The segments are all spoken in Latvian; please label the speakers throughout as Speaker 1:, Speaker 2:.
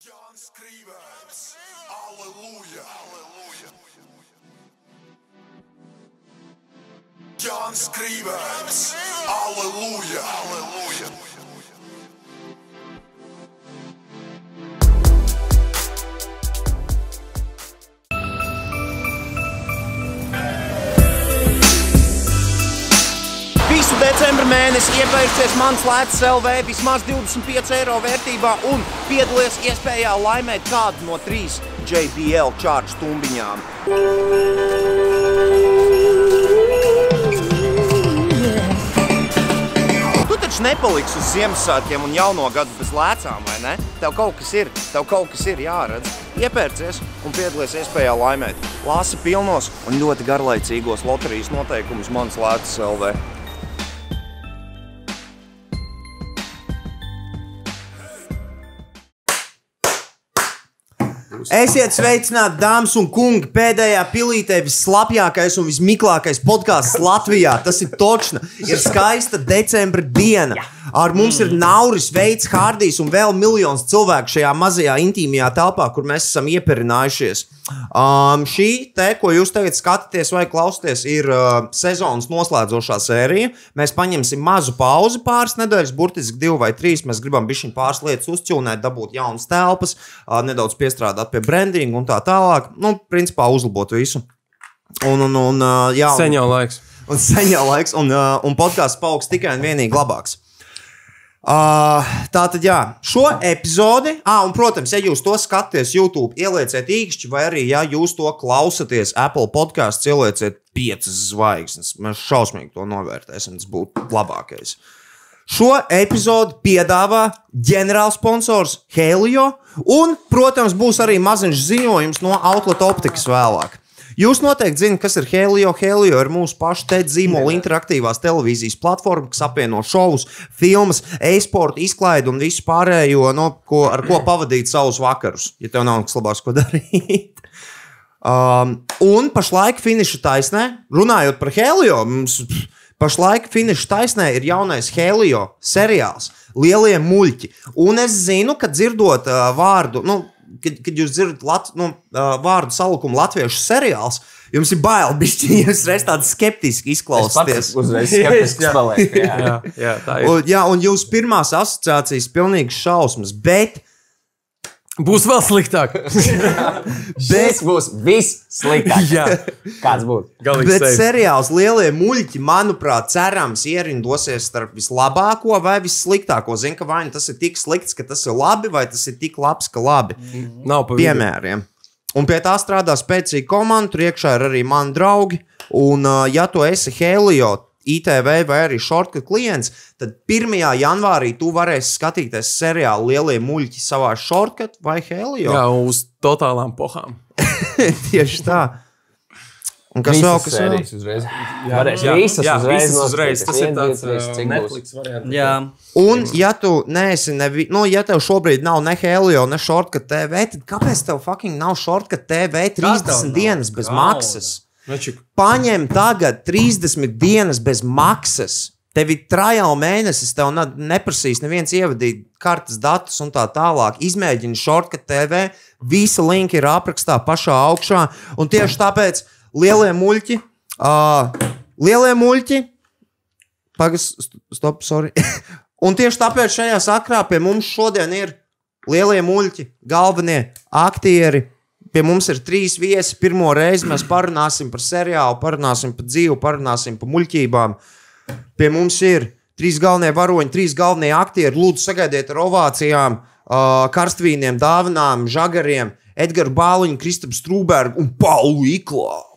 Speaker 1: John Scrivens. Аллилуйя. Аллилуйя. John Scrivens. Аллилуйя. Аллилуйя.
Speaker 2: Visu decembra mēnesi iepērcies mans lēts LV vismaz 25 eiro vērtībā un piedalies iespējā laimēt kādu no trīs JBL čārču tumbiņām. Tu taču nepaliksi uz Ziemassvētkiem un jauno gadu bez lēcām, vai ne? Tev kaut kas ir, tev kaut kas ir jāredz. Iepērcies un piedalies iespējā laimēt. Lāsi pilnos un ļoti garlaicīgos loterijas noteikumus mans lētas LV.
Speaker 3: Esiet sveicināti, dāmas un kungi. Pēdējā pilītē vislabākais un vismiklākais podkāsts Latvijā. Tas ir točna. Ir skaista decembra diena. Ar mums ir Nauris, Veids, Hārdijs un vēl miljons cilvēku šajā mazajā intīmajā telpā, kur mēs esam iepērinājušies. Um, šī te, ko jūs tagad skatāties vai klausāties, ir uh, sezonas noslēdzošā sērija. Mēs paņemsim mazu pauzi pāris nedēļas, burtiski divu vai trīs. Mēs gribam bišķiņu pāris lietas uzķūnēt, dabūt jaunas telpas, uh, nedaudz piestrādāt pie brandinga un tā tālāk. Nu, principā uzlabot visu. Un, un, un uh, jā, un-
Speaker 4: Sen jau laiks.
Speaker 3: un sen jau laiks, un, uh, un podkāsts paaugs tikai un vienīgi labāks. Uh, tā tad, jā, šo epizodi, ah, un, protams, ja jūs to skatāties YouTube, ielieciet īkšķi, vai arī, ja jūs to klausāties Apple podkāstā, ielieciet piecas zvaigznes. Mēs šausmīgi to novērtēsim, tas būtu labākais. Šo epizodi piedāvā ģenerālsponsors Helio, un, protams, būs arī maziņš ziņojums no Outlet Optikas vēlāk. Jūs noteikti zināt, kas ir Helio. Helio ir mūsu paša te zīmola interaktīvās televīzijas platforma, kas apvieno šovus, filmas, e-sportu, izklaidi un visu pārējo, no, ko, ar ko pavadīt savus vakarus, ja tev nav nekas labāks, ko darīt. Um, un pašlaik finīša taisnē, runājot par Helio, mums pff, pašlaik finīša taisnē ir jaunais Helio seriāls, Lielie muļķi. Un es zinu, ka dzirdot uh, vārdu, nu, kad, kad jūs dzirdat lat, nu, uh, vārdu salikumu latviešu seriāls, jums ir bail, bišķi, jūs reiz tādi skeptiski izklausāties.
Speaker 5: Uzreiz skeptisks paliek. jā.
Speaker 4: Jā, jā, tā ir.
Speaker 3: Un, jā, un jūsu pirmās asociācijas pilnīgi šausmas, bet,
Speaker 4: Būs vēl sliktāk.
Speaker 3: bet
Speaker 5: Šis būs viss sliktākais.
Speaker 4: jā,
Speaker 5: Kāds būs?
Speaker 4: galīgi.
Speaker 3: Bet
Speaker 4: safe.
Speaker 3: seriāls Lielie muļķi, manuprāt, cerams, ierindosies starp vislabāko vai vissliktāko. Zinu, ka vai nu tas ir tik slikts, ka tas ir labi, vai tas ir tik labs, ka labi.
Speaker 4: Nav pa vidu.
Speaker 3: Piemēriem. Un pie tā strādā spēcīga komanda, tur iekšā ir arī mani draugi. Un, uh, ja tu esi Helio, ITV vai arī Shortcut klients, tad 1. janvārī tu varēsi skatīties seriālu Lielie muļķi savā Shortcut vai Helio.
Speaker 4: Jā, uz totālām pohām.
Speaker 3: Tieši tā. Un kas vēl, kas vēl?
Speaker 5: sērijas uzreiz? Varēs visas
Speaker 4: jā,
Speaker 5: uzreiz.
Speaker 4: visas uzreiz.
Speaker 5: noskatīties.
Speaker 4: Tas ir
Speaker 5: Viens,
Speaker 4: tāds
Speaker 5: divi, trīs,
Speaker 4: uh,
Speaker 5: cik būs?
Speaker 4: Netflix variants.
Speaker 6: Jā,
Speaker 3: Un, ja tu neesi, nevi, nu, ja tev šobrīd nav ne Helio, ne Shortcut TV, tad kāpēc tev fucking nav Shortcut TV 30 dienas bez Galda. maksas?
Speaker 4: Večik,
Speaker 3: Paņem tagad 30 dienas bez maksas. Tev ir trial mēnesis, tev ne- neprasīs neviens ievadīt kartes datus un tā tālāk. Izmēģini Shortcut TV, visa linka ir aprakstā pašā augšā. Un tieši tāpēc lielie muļķi, uh, lielie muļķi, Pagas, st- stop, sorry. Un tieši tāpēc šajā sakrā pie mums šodien ir lielie muļķi, galvenie aktieri. Pie mums ir trīs viesi. Pirmo reizi mēs parunāsim par seriālu, parunāsim par dzīvi, parunāsim par muļķībām. Pie mums ir trīs galvenie varoņi, trīs galvenie aktieri. Lūdzu, sagaidiet ar ovācijām, ā, karstvīniem, dāvinām, žagariem, Edgars Bāliņu, Kristapu Strūbergu un Paulu Iklāvu.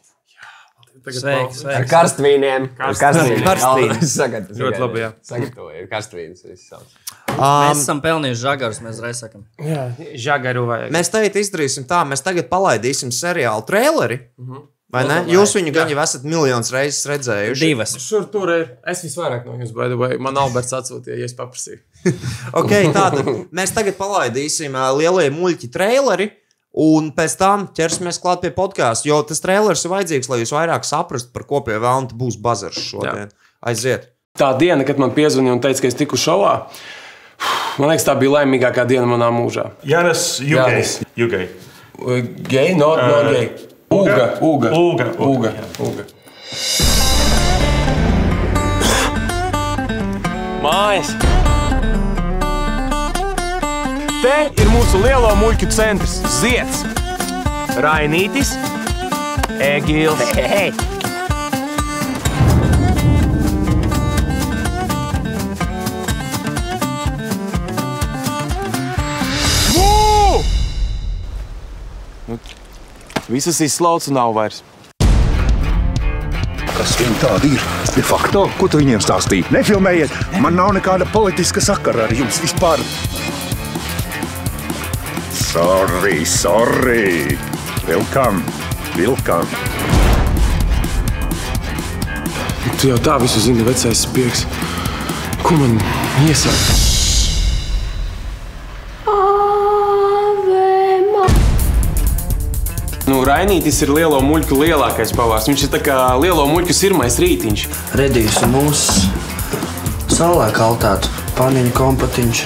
Speaker 6: sveiki,
Speaker 5: Ar
Speaker 6: sveiki.
Speaker 5: karstvīniem. Ar karstvīniem.
Speaker 3: Karstvīni.
Speaker 5: Galvenais sagatavot.
Speaker 4: Ļoti labi, jā.
Speaker 5: Sagatavoju karstvīnus. visus savus.
Speaker 6: Mēs esam pelnījuši žagarus, mēs reiz sakam.
Speaker 4: jā, žagaru vajag.
Speaker 3: Mēs tagad izdarīsim tā, mēs tagad palaidīsim seriālu traileri. Vai ne? Jūs viņu gan jau esat miljonus reizes redzējuši.
Speaker 6: Divas.
Speaker 4: Šur tur ir. Es visvairāk no jums baidu, vai man Alberts atsūtīja, ja es paprasīju.
Speaker 3: Okay, tātad, mēs tagad palaidīsim ā, lielie muļķi traileri. Un pēc tam ķersimies klāt pie podkāstiem, jo tas trailers ir vajadzīgs, lai jūs vairāk saprastu, par ko pie vēlna būs bazars šodien. Jā. Aiziet!
Speaker 7: Tā diena, kad man piezvanīja un teica, ka es tiku šovā,
Speaker 4: Man liekas, tā bija laimīgākā diena manā mūžā.
Speaker 7: Jānis, UK.
Speaker 4: Jānis.
Speaker 7: UK.
Speaker 4: Gej, no, no gej. Uga, uga,
Speaker 7: Uga, uga,
Speaker 4: uga, uga.
Speaker 8: Mājas! Te ir mūsu lielo muļķu centrs - Zieds, Rainītis, Egils. Mū! Nu, Visas izslaucu nav vairs.
Speaker 9: Kas viņi tādi ir? De facto, ko tu viņiem stāstīji? Nefilmējiet, man nav nekāda politiska sakara ar jums vispār. Sorry, sorry. Vilkam, vilkam.
Speaker 4: Tu jau tā visu zini, vecais spiegs. Ko man iesaka? Nu, Rainītis ir lielo muļķu lielākais pavārs. Viņš ir tā kā lielo muļķu sirmais rītiņš.
Speaker 6: Redīs mūsu saulē kaltātu paniņu kompatiņš,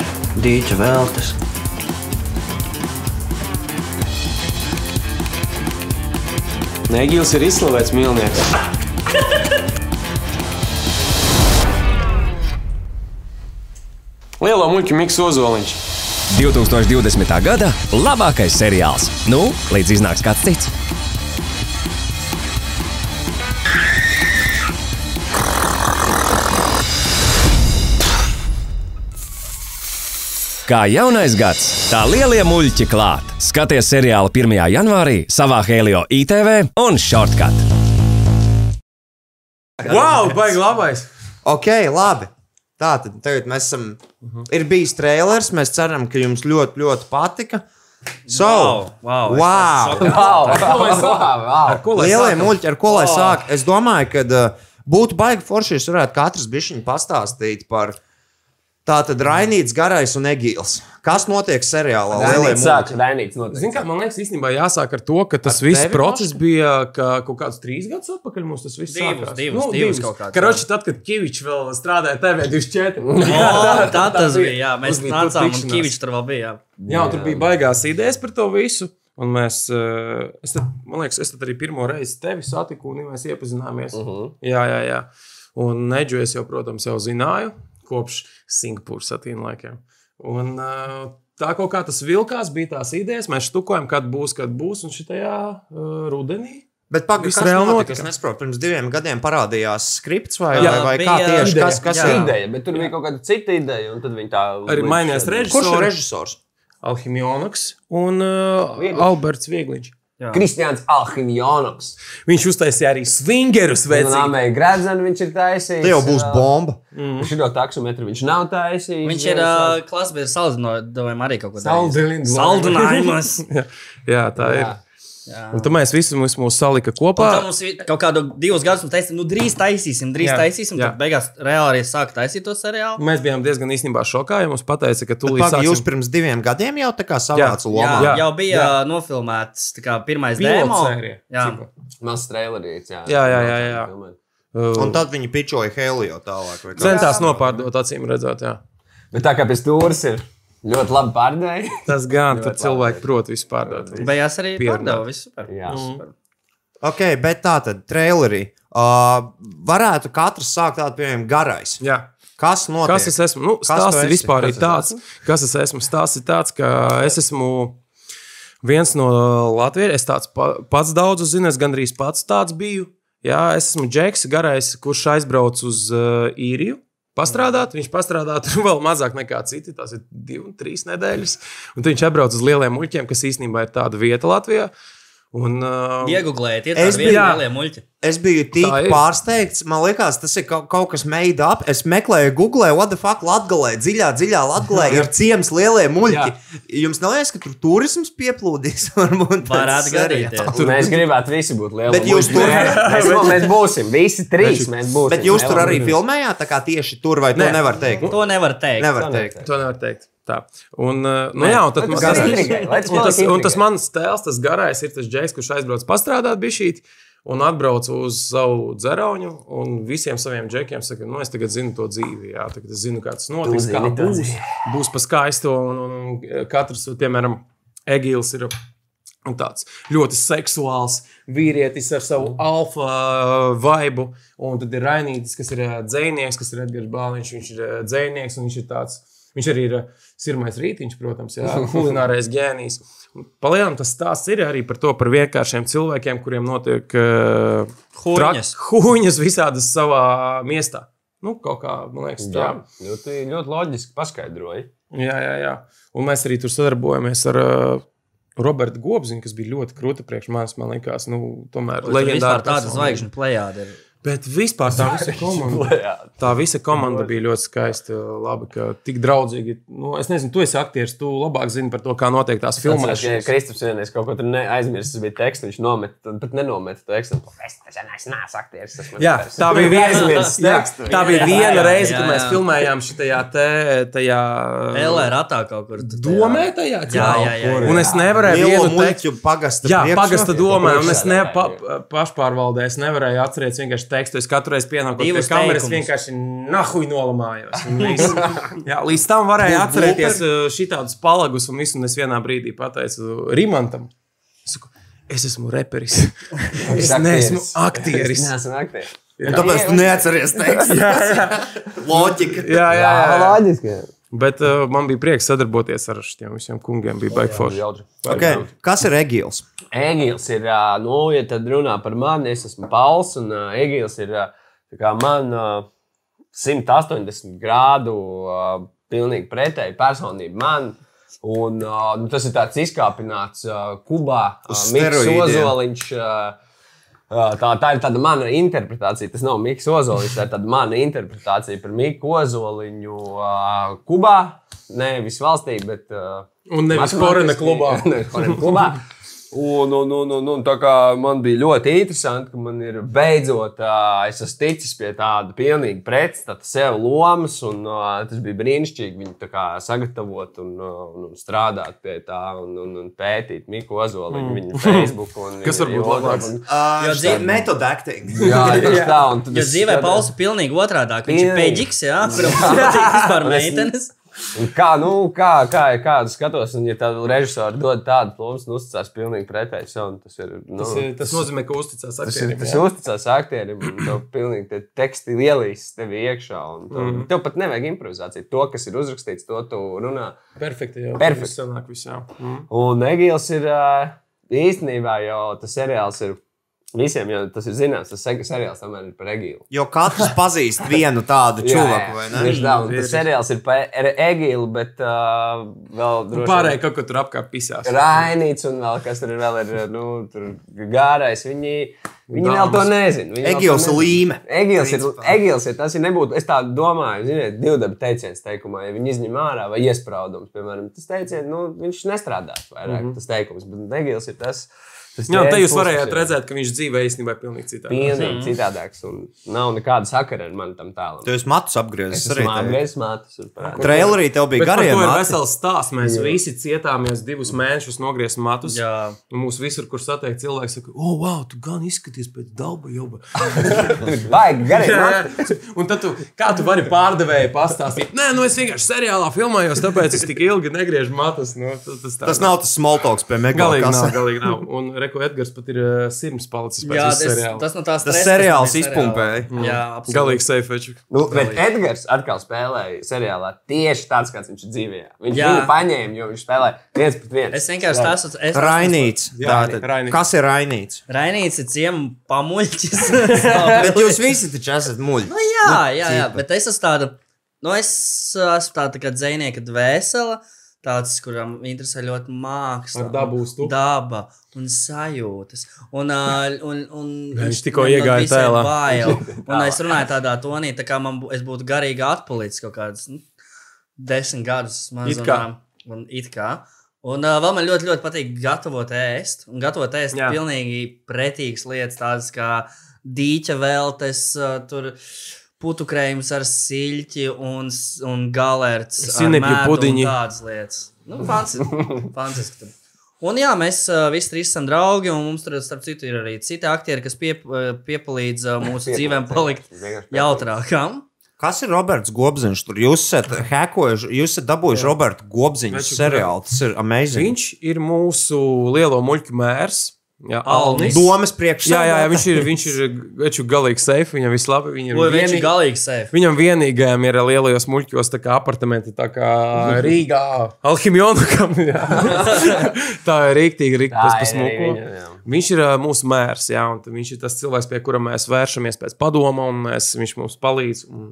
Speaker 6: dīķa veltes.
Speaker 4: Negils Nu, ir izslavēts mīlnieks. Lielo muļķu miks ozoliņš.
Speaker 10: 2020. gada labākais seriāls. Nu, līdz iznāks kāds cits. Kā jaunais gads, tā lielie muļķi klāt. Skaties seriālu 1. janvārī savā Helio ITV un Shortcut.
Speaker 4: Wow, baigi labais!
Speaker 3: Ok, labi. Tā tad tagad mēs esam. Ir bijis trailers. Mēs ceram, ka jums ļoti, ļoti patika. So,
Speaker 6: wow, es
Speaker 3: wow.
Speaker 6: esmu šokā.
Speaker 5: Wow!
Speaker 4: Ko lai
Speaker 3: Lielie
Speaker 4: sākam?
Speaker 3: muļķi, ar ko lai Ah. sāk? Es domāju, ka uh, būtu baigi forši, ja jūs varētu katrs bišķiņu pastāstīt par tātad Rainīts, Garais un Egīls. Kas notiek seriālā? Lielie
Speaker 5: Rainīts
Speaker 3: muļķi.
Speaker 5: sāk, Rainīts noteikti.
Speaker 4: Zin kā, man liekas, īstenībā jāsāk ar to, ka tas ar viss
Speaker 3: tevi
Speaker 4: process bija ka kaut kāds trīs gadus atpakaļ. Mums tas viss
Speaker 6: Divus,
Speaker 4: sākās. Nu,
Speaker 6: divus, divus kaut kāds, jā.
Speaker 4: Karoči, tad, kad Kavičs vēl strādāja TV24,
Speaker 6: O, Tā tas bija. Jā, mēs
Speaker 4: Mums bija tur
Speaker 6: nācām, un
Speaker 4: tikšanās.
Speaker 6: Kavičs tur vēl bija. jā.
Speaker 4: Jā, un tur bija baigās idejas par to visu. Un mēs, eh, es tad, man liekas, es tad arī pirmo reizi tevi satiku, un mēs iepazināmies. Uh -huh. Jā, jā, jā. Un Neģu es jau, protams, jau zināju kopš Singapūras satīna laikiem. Un, eh, tā kaut kā tas vilkās, bija tās idejas. Mēs štukojam, kad būs, kad būs, un šitajā uh, rudenī.
Speaker 3: Bet pagaidi,
Speaker 4: Viss
Speaker 3: Nu, kas
Speaker 4: reāli
Speaker 3: notika? Es
Speaker 4: notika.
Speaker 3: nesaprotu, pirms diviem gadiem parādījās skripts vai,
Speaker 6: Jā,
Speaker 3: vai, vai kā
Speaker 6: bija
Speaker 3: tieši
Speaker 6: ideja.
Speaker 3: kas, kas
Speaker 6: Jā.
Speaker 3: ir?
Speaker 5: Ideja, bet tur bija kaut kāda cita ideja, un tad viņi tā
Speaker 4: Arī mainījās
Speaker 3: Kurš ir
Speaker 4: režisors
Speaker 3: režisors?
Speaker 4: Alhimionoks un uh, Alberts Viegliņš.
Speaker 5: Kristians Alhimjonovs.
Speaker 4: Viņš uztaisīja arī swingerus
Speaker 5: Pēc
Speaker 4: vecību.
Speaker 5: nāmēja Gradzena Nu, viņš ir taisījis.
Speaker 3: Te jau būs bomba.
Speaker 5: Šito taksometru viņš nav taisījis.
Speaker 6: Viņš ir ā, klasbiedrs saldinājumam arī kaut ko
Speaker 4: Saldilin-
Speaker 6: Saldinājumos.
Speaker 4: Jā, tā jā. ir.
Speaker 5: Jā.
Speaker 4: Un tad mēs visi mūs, mūs salika kopā.
Speaker 6: Un tad mums bija kaut kādu divus gadus, un taisīsim, nu drīz taisīsim, drīz
Speaker 4: Jā,
Speaker 6: jā,
Speaker 4: jā.
Speaker 6: taisīsim.
Speaker 4: Mm.
Speaker 6: Tad beigās reāli arī sāka taisīt to seriālu.
Speaker 4: Mēs bijām diezgan īstenībā šokā, ja mums pateica, ka tūlīt
Speaker 3: Pagaidi, jūs
Speaker 4: sāksim
Speaker 3: pirms diviem gadiem jau tā kā savāc
Speaker 4: Jā.
Speaker 3: lomā.
Speaker 6: Jā,
Speaker 4: Jā,
Speaker 6: jā, jau bija jā.
Speaker 4: jā.
Speaker 6: nofilmēts tā kā pirmais demo.
Speaker 4: pilotsēriju.
Speaker 6: Jā.
Speaker 5: Mazs trailerīts, jā.
Speaker 4: Jā, jā, jā, jā.
Speaker 5: Tomēr.
Speaker 4: Uh,
Speaker 3: Un tad viņi pičoja Helio tālāk. vai kā?
Speaker 4: Centās nopārdot, acīm redzot, jā.
Speaker 5: Bet Nu, tā kā pēc tūras ir ļoti labi pārdeja.
Speaker 4: Tas gan, tad
Speaker 5: labi.
Speaker 4: cilvēki prot vispār dot.
Speaker 6: Beigās arī
Speaker 4: Pierunāt.
Speaker 6: pārdeva visu. super.
Speaker 5: Jā.
Speaker 4: Nu.
Speaker 6: Super.
Speaker 3: Ok, bet tā tad trailerī. Uh, varētu katrs sākt tādu, piemēram, garais.
Speaker 4: Jā.
Speaker 3: Kas notiek?
Speaker 4: Kas es esmu? Nu,
Speaker 3: Kas tu
Speaker 4: stāsts
Speaker 3: esi?
Speaker 4: vispār
Speaker 3: Kas
Speaker 4: ir
Speaker 3: es
Speaker 4: tāds, kas es esmu. Stāsts ir tāds, ka es esmu viens no Latvijas. Es tāds pa, pats daudz zinu, es gandrīz pats tāds biju. Jā, es esmu Džeks, garais, kurš aizbrauc uz uh, īriju. Pastrādāt, viņš pastrādā tur vēl mazāk nekā citi. Tas ir divi, trīs nedēļas. Un tad viņš atbrauc uz lieliem muļķiem, kas īstenībā ir tāda vieta Latvijā. Un, uh,
Speaker 6: Iegublējiet, iet
Speaker 3: Es
Speaker 6: uz
Speaker 3: biju-
Speaker 6: vienu
Speaker 4: jā.
Speaker 6: lielie muļķi.
Speaker 3: Es biju tik
Speaker 4: Tā ir.
Speaker 3: pārsteigts, man liekas, tas ir kaut, kaut kas made up. Es meklēju, googlēju, what the fuck, latgalē, dziļā, dziļā latgalē ir ciems lielie muļķi. Jums nav liekas, ka tur turisms pieplūdīs? Varbūt tas eh,
Speaker 6: Varētu
Speaker 3: seriāls.
Speaker 6: gadīties.
Speaker 5: Tur mēs gribētu visi būt lieli.
Speaker 3: Bet jūs tur-
Speaker 5: mēs, mēs būsim. Visi trīs mēs būsim.
Speaker 3: Bet jūs tur
Speaker 5: Lielo
Speaker 3: arī
Speaker 5: muļķi.
Speaker 3: filmējāt, tā kā tieši tur vai to
Speaker 4: Nē.
Speaker 3: nevar teikt?
Speaker 6: To nevar teikt.
Speaker 3: Nevar teikt.
Speaker 4: To nevar teikt. Tā. Un, uh, nu, jā, un tad
Speaker 5: Lai
Speaker 4: man
Speaker 5: tas
Speaker 4: tas
Speaker 5: intrigai, lai tas
Speaker 4: un tas,
Speaker 5: paliek
Speaker 4: un tas
Speaker 5: intrigai.
Speaker 4: mans tēls, tas garais, ir tas džeks, kurš aizbrauc pastrādāt bišķīt. Un atbraucu uz savu dzerauņu un visiem saviem džekiem saka, nu, es tagad zinu to dzīvi. Jā, tagad es zinu, kā tas notiks. Kā
Speaker 5: zini to
Speaker 4: būs, būs pa skaisto. Un, un, un katrs, piemēram, Egīls ir un tāds ļoti seksuāls vīrietis ar savu alfa vibu. Un tad ir Rainītis, kas ir ā, dzēnieks, kas ir Edgars Bāliņš, viņš ir ā, dzēnieks un viņš ir tāds. Viņš arī ir ā, sirmais rītiņš, protams, jā, kulinārais gēnijs. Palielinām tas stāsts ir arī par to, par vienkāršiem cilvēkiem, kuriem notiek uh,
Speaker 6: Huņas.
Speaker 4: huņas visādas savā miestā. Nu, kaut kā, man liekas, tā.
Speaker 5: Jā, ļoti, ļoti loģiski paskaidroji.
Speaker 4: Jā, jā, jā. Un mēs arī tur sadarbojamies ar uh, Robertu Gobziņu, kas bija ļoti krūta priekš manis. Man liekas, nu, tomēr
Speaker 6: Leģendāra
Speaker 4: leģendāra
Speaker 6: tāda
Speaker 4: personība.
Speaker 6: zvaigžņu plējāde. ir.
Speaker 4: Bet vispār tā visa komanda. Tā visa komanda bija ļoti skaista. Labi, ka tik draudzīgi. Nu, es nezinu, tu esi aktieris, tu labāk zini par to, kā notiek tās
Speaker 5: Filmēs, ja
Speaker 4: filmēšanas.
Speaker 5: Kristaps vienreiz kaut ko tur ne- aizmirsis, bija teksts, viņš nometa, pat nenometa to eksemplāru. Es tas vienais nāc aktieris, tas man
Speaker 4: Jā,
Speaker 5: interesē.
Speaker 4: tā bija viena,
Speaker 5: Aizmirsis
Speaker 4: jā,
Speaker 5: tekstu.
Speaker 4: tā bija viena
Speaker 6: jā,
Speaker 4: reize,
Speaker 6: jā,
Speaker 4: kad mēs
Speaker 6: jā.
Speaker 4: filmējām šajā te, tajā
Speaker 6: LR ratā kaut kur. tu tajā-
Speaker 4: domē, tajā
Speaker 6: Jā, jā, jā, jā.
Speaker 4: Un es nevarēju
Speaker 3: Lielo
Speaker 4: vienu tekstu
Speaker 3: muļķu pagasta.
Speaker 4: Jā,
Speaker 3: priekšā.
Speaker 4: pagasta domā, un es
Speaker 5: priekšā,
Speaker 4: ne
Speaker 5: jā,
Speaker 4: pa, pašpārvaldē, es nevarēju atcerēties vienkārši tekstu. Es katru reizi pienāku pie
Speaker 6: Divus
Speaker 4: kameras,
Speaker 6: teikumus.
Speaker 4: vienkārši nahuj nolamājos. un viss. Jā, līdz tam varēju atcerēties šādus palagus un visu, un es vienā brīdī pateicu Rimantam. Es saku, Es esmu reperis. Es neesmu aktieris.
Speaker 5: Es neesmu aktieris.
Speaker 3: Un Tāpēc tu neatceries tekstu. Loģika.
Speaker 4: Jā, jā, jā.
Speaker 5: Loģiski.
Speaker 4: Bet uh, man bija prieks sadarboties ar šiem visiem kungiem. Bija baigi forši.
Speaker 3: Okay. Kas ir Egils?
Speaker 5: Egils ir, ā, nu, ja tad runā par mani, es esmu Pauls, un ā, Egils ir ā, tā kā man ā, 180 grādu ā, pilnīgi pretēji personība man. Un, ā, nu, tas ir tāds izkāpināts ā, kubā,
Speaker 3: Uz steroīdiem.
Speaker 5: Mikls. Tā, tā ir tāda mana interpretācija. Tas nav Mikls Ozoliņš, tā ir tāda mana interpretācija par Mikls Ozoliņu ā, Kubā. Nevis valstī, bet. ā,
Speaker 4: Un nevis
Speaker 5: matemātiski-
Speaker 4: Korena klubā.
Speaker 5: Ne, Korena klubā. Un, un, un, un, un nu, tā kā man bija ļoti interesanti, ka man ir beidzot, ā, es esmu ticis pie tāda pilnīgi pretstata sev lomas, un ā, tas bija brīnišķīgi viņu tā kā sagatavot un, ā, un, un strādāt pie tā, un, un, un pētīt Miku Ozoliņu, mm. viņu Facebook. Un,
Speaker 4: Kas varbūt
Speaker 5: jo-
Speaker 4: labāks?
Speaker 5: un-
Speaker 3: Uh,
Speaker 6: Jo dzīv-
Speaker 3: Method acting.
Speaker 5: Jā, tieši tā. un tad
Speaker 6: Jo
Speaker 5: es
Speaker 6: dzīvē
Speaker 5: skatos-
Speaker 6: pausa pilnīgi otrādāk. Viņš ir
Speaker 5: Pilnīgi.
Speaker 6: peģiks, jā, kuram patīk vispār
Speaker 5: Un es-
Speaker 6: meitenes.
Speaker 5: Un Kā, nu, kā, kā, kādu skatos, un ja tādu režisoru dod tādu plūmu, nu, uzticās pilnīgi pretēji sev. un Tas ir, nu,
Speaker 4: Tas, ir- tas nozīmē, ka uzticās
Speaker 5: Tas ir
Speaker 4: aktierim.
Speaker 5: tas
Speaker 4: jā.
Speaker 5: uzticās aktierim, un tev pilnīgi tie teksti ielīs tev iekšā. un Tev,
Speaker 3: Mhm.
Speaker 5: mm. tev pat nevajag improvizāciju. To, kas ir uzrakstīts, to tu runā.
Speaker 4: Perfekti. jā.
Speaker 5: Perfekti.
Speaker 4: Viss sanāk visā. Mm.
Speaker 5: Un Egils ir ā, īstenībā jau tas seriāls ir visiem, jo tas ir zināms, tas se- seriāls tomēr ir par Egilu.
Speaker 3: Jo katrs pazīst vienu tādu cilvēku, vai ne?
Speaker 5: Viņš tā, un
Speaker 4: Vīrišķi.
Speaker 5: tas seriāls ir par E- Egilu, bet uh, vēl droši
Speaker 4: Nu,
Speaker 5: vien-
Speaker 4: Pārējie kaut kur tur apkārt pisās.
Speaker 5: Rainīts un vēl kas tur vēl ir, nu, tur gārais. Viņi, viņi vēl to
Speaker 4: Dāmas.
Speaker 5: nezina. Viņi vēl to
Speaker 3: Egils
Speaker 5: nezina.
Speaker 3: Līme.
Speaker 5: Egils ir,
Speaker 3: Principā.
Speaker 5: Egils ir tas, ja nebūtu, es tā domāju, ziniet, divdabi teiciens teikumā, ja viņi izņem ārā vai iespraudums, piemēram, tas teiciens, nu, viņš nestrādās vairāk,
Speaker 3: Mhm.
Speaker 5: mm -hmm. tas teikums, bet Egils ir tas. tas
Speaker 4: Jā, un te
Speaker 5: tēns
Speaker 4: jūs varējāt
Speaker 5: puses, jā.
Speaker 4: redzēt, Mhm. ka viņš dzīvē īstenībā ir pilnīgi citādi.
Speaker 5: Pilnīgi citādāks, un nav nekāda sakara ar mani tam tālam.
Speaker 3: Tu esi matus apgriezis.
Speaker 5: Es
Speaker 3: arī
Speaker 5: esmu
Speaker 3: tev.
Speaker 5: apgājis mātes un parādīju.
Speaker 3: Trailerī tev bija
Speaker 4: Bet par
Speaker 3: garie
Speaker 4: to ir
Speaker 3: mati.
Speaker 4: vesels stāsts. Mēs jā. visi cietāmies divus mēnešus, nogriezt matus.
Speaker 6: Jā.
Speaker 4: Un mūsu visur, kur satiek cilvēki, saka, o, oh, wow, tu gan izskaties pēc daba joba.
Speaker 5: Vajag garīgi.
Speaker 4: Jā,
Speaker 5: matus.
Speaker 4: jā. Un tad tu, kā tu vari pārdevēju pastāstīt? Nē, nu es vienkārši seriālā filmējos, tāpēc es tik ilgi negriežu matus. Nu, tas, tas, tā.
Speaker 3: Tas nav tas smalltalks pie
Speaker 4: Galīgi
Speaker 3: Megalovas.
Speaker 4: nav, galīgi nav. Un Reku Edgars pat ir uh, sirds palicis pēc
Speaker 6: Jā,
Speaker 4: jā,
Speaker 6: tas,
Speaker 4: seriāla. Tas...
Speaker 6: tas no tās
Speaker 3: Tas
Speaker 6: stresa,
Speaker 3: seriāls
Speaker 6: kas man ir
Speaker 3: izpumpēja.
Speaker 6: seriālā. Jā, absolūti.
Speaker 4: Galīgi seifeču.
Speaker 5: Nu, bet Edgars atkal spēlēja seriālā tieši tāds, kāds viņš ir dzīvē. Viņš
Speaker 6: Jā.
Speaker 5: viņu paņēma, jo viņš spēlēja viens pret vienu.
Speaker 6: Es vienkārši tādu esmu.
Speaker 3: Rainīts.
Speaker 4: Jā,
Speaker 3: tātad.
Speaker 4: Rainīts.
Speaker 3: Kas ir Rainīts?
Speaker 6: Rainīts ir ciemats pamuļķis. Nu,
Speaker 3: Bet jūs visi taču esat
Speaker 4: Nu,
Speaker 3: muļķi.
Speaker 6: jā, jā, jā, bet es esmu tāda. Nu, es esmu tāda tā kā dzinieka dvēsele. Tāds, kuram interesē ļoti māksla,
Speaker 4: Ar dabu uz tu?
Speaker 6: daba un sajūtas. Un, ā, un, un,
Speaker 4: Viņš tikko iegāja tēlā.
Speaker 6: Un es runāju tādā tonī, tā kā man, bū- es būtu garīgi atpalicis kaut kādas nu, desmit gadus. Man
Speaker 4: It
Speaker 6: zvanā,
Speaker 4: kā.
Speaker 6: Un, it kā. un uh, vēl man ļoti, ļoti patīk gatavot ēst. Un gatavot ēst
Speaker 4: Jā.
Speaker 6: Jā. pilnīgi pretīgas lietas, tādas kā dīķa veltes, uh, tur putukrējums ar siļķi un, s- un galerts. ar
Speaker 4: Sinepju
Speaker 6: medu un
Speaker 4: pudiņi.
Speaker 6: Tādas lietas. Nu, fanci- Fantastiski. Un jā, mēs uh, visi trīs esam draugi, un mums tur, starp citu, ir arī citi aktieri, kas piep, uh, piepalīdz uh, mūsu dzīvēm palikt jautrākām.
Speaker 3: Kas ir Roberts Gobziņš? Tur jūs esat hekojuši, jūs esat dabūjuši Roberta Gobziņa
Speaker 4: Taču,
Speaker 3: seriālu. Tas ir amazing.
Speaker 4: Viņš ir mūsu lielo muļķu mērs. Jā, Alnis.
Speaker 3: Domas
Speaker 4: Jā, jā, jā,
Speaker 3: priekšsēdētājs.
Speaker 4: viņš ir, viņš ir veču galīgi safe, viņam viss labi. Viņam,
Speaker 6: Lai Viņš
Speaker 4: vienīgi-
Speaker 6: ir galīgi safe.
Speaker 4: viņam vienīgajam ir lielajos muļķos tā kā apartamenti, tā kā Rīgā. Alhimionam. tā ir rīktīgi, rīktīgi
Speaker 5: Tā
Speaker 4: tas
Speaker 5: ir arī viņa,
Speaker 4: pasmūko.
Speaker 5: jā.
Speaker 4: Viņš ir ā, mūsu mērs, jā, un viņš ir tas cilvēks, pie kura mēs vēršamies pēc padoma, un mēs, viņš mums palīdz. Un...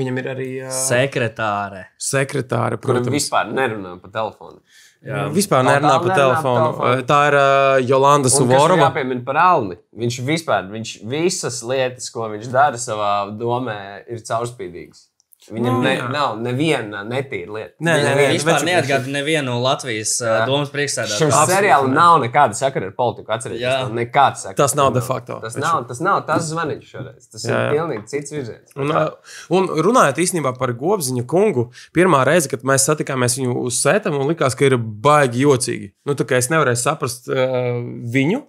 Speaker 4: Viņam ir arī ā,
Speaker 6: Sekretāre.
Speaker 4: sekretāre,
Speaker 5: Kuriem
Speaker 4: protams.
Speaker 5: vispār nerunā pa telefonu.
Speaker 4: Jā, vispār nerunā
Speaker 5: tā
Speaker 4: pa
Speaker 5: nerunā
Speaker 4: telefonu.
Speaker 5: pa telefonu.
Speaker 4: Tā ir uh, Jolanda
Speaker 5: Un kas ir
Speaker 4: Suvorova.
Speaker 5: jāpiemina par Alni? Viņš vispār, viņš visas lietas, ko viņš dara savā domē, ir caurspīdīgs. Viņam
Speaker 4: Nu,
Speaker 5: ne,
Speaker 4: jā.
Speaker 5: nav neviena netīra lieta.
Speaker 4: Nē, nē, nē,
Speaker 5: Neviena.
Speaker 4: veču-
Speaker 6: Vispār neatgādina nevienu Latvijas uh,
Speaker 5: Jā.
Speaker 6: domas
Speaker 5: Šim
Speaker 6: priekšsēdētāju.
Speaker 5: seriālam nav nekāda sakara ar politiku.
Speaker 6: Jā.
Speaker 5: Atcerieties, tam nekāda sakara.
Speaker 4: Tas nav de facto.
Speaker 5: Tas nav tas, nav, tas zvaniņš šoreiz. Tas jā,
Speaker 4: Jā, jā.
Speaker 5: jā. ir pilnīgi cits virziens.
Speaker 4: Un, ā, un runājot īstenībā par Gobziņu kungu, pirmā reize, kad mēs satikāmies viņu uz sēta, man likās, ka ir baigi jocīgi. Nu, tā kā es nevarēju saprast uh, viņu.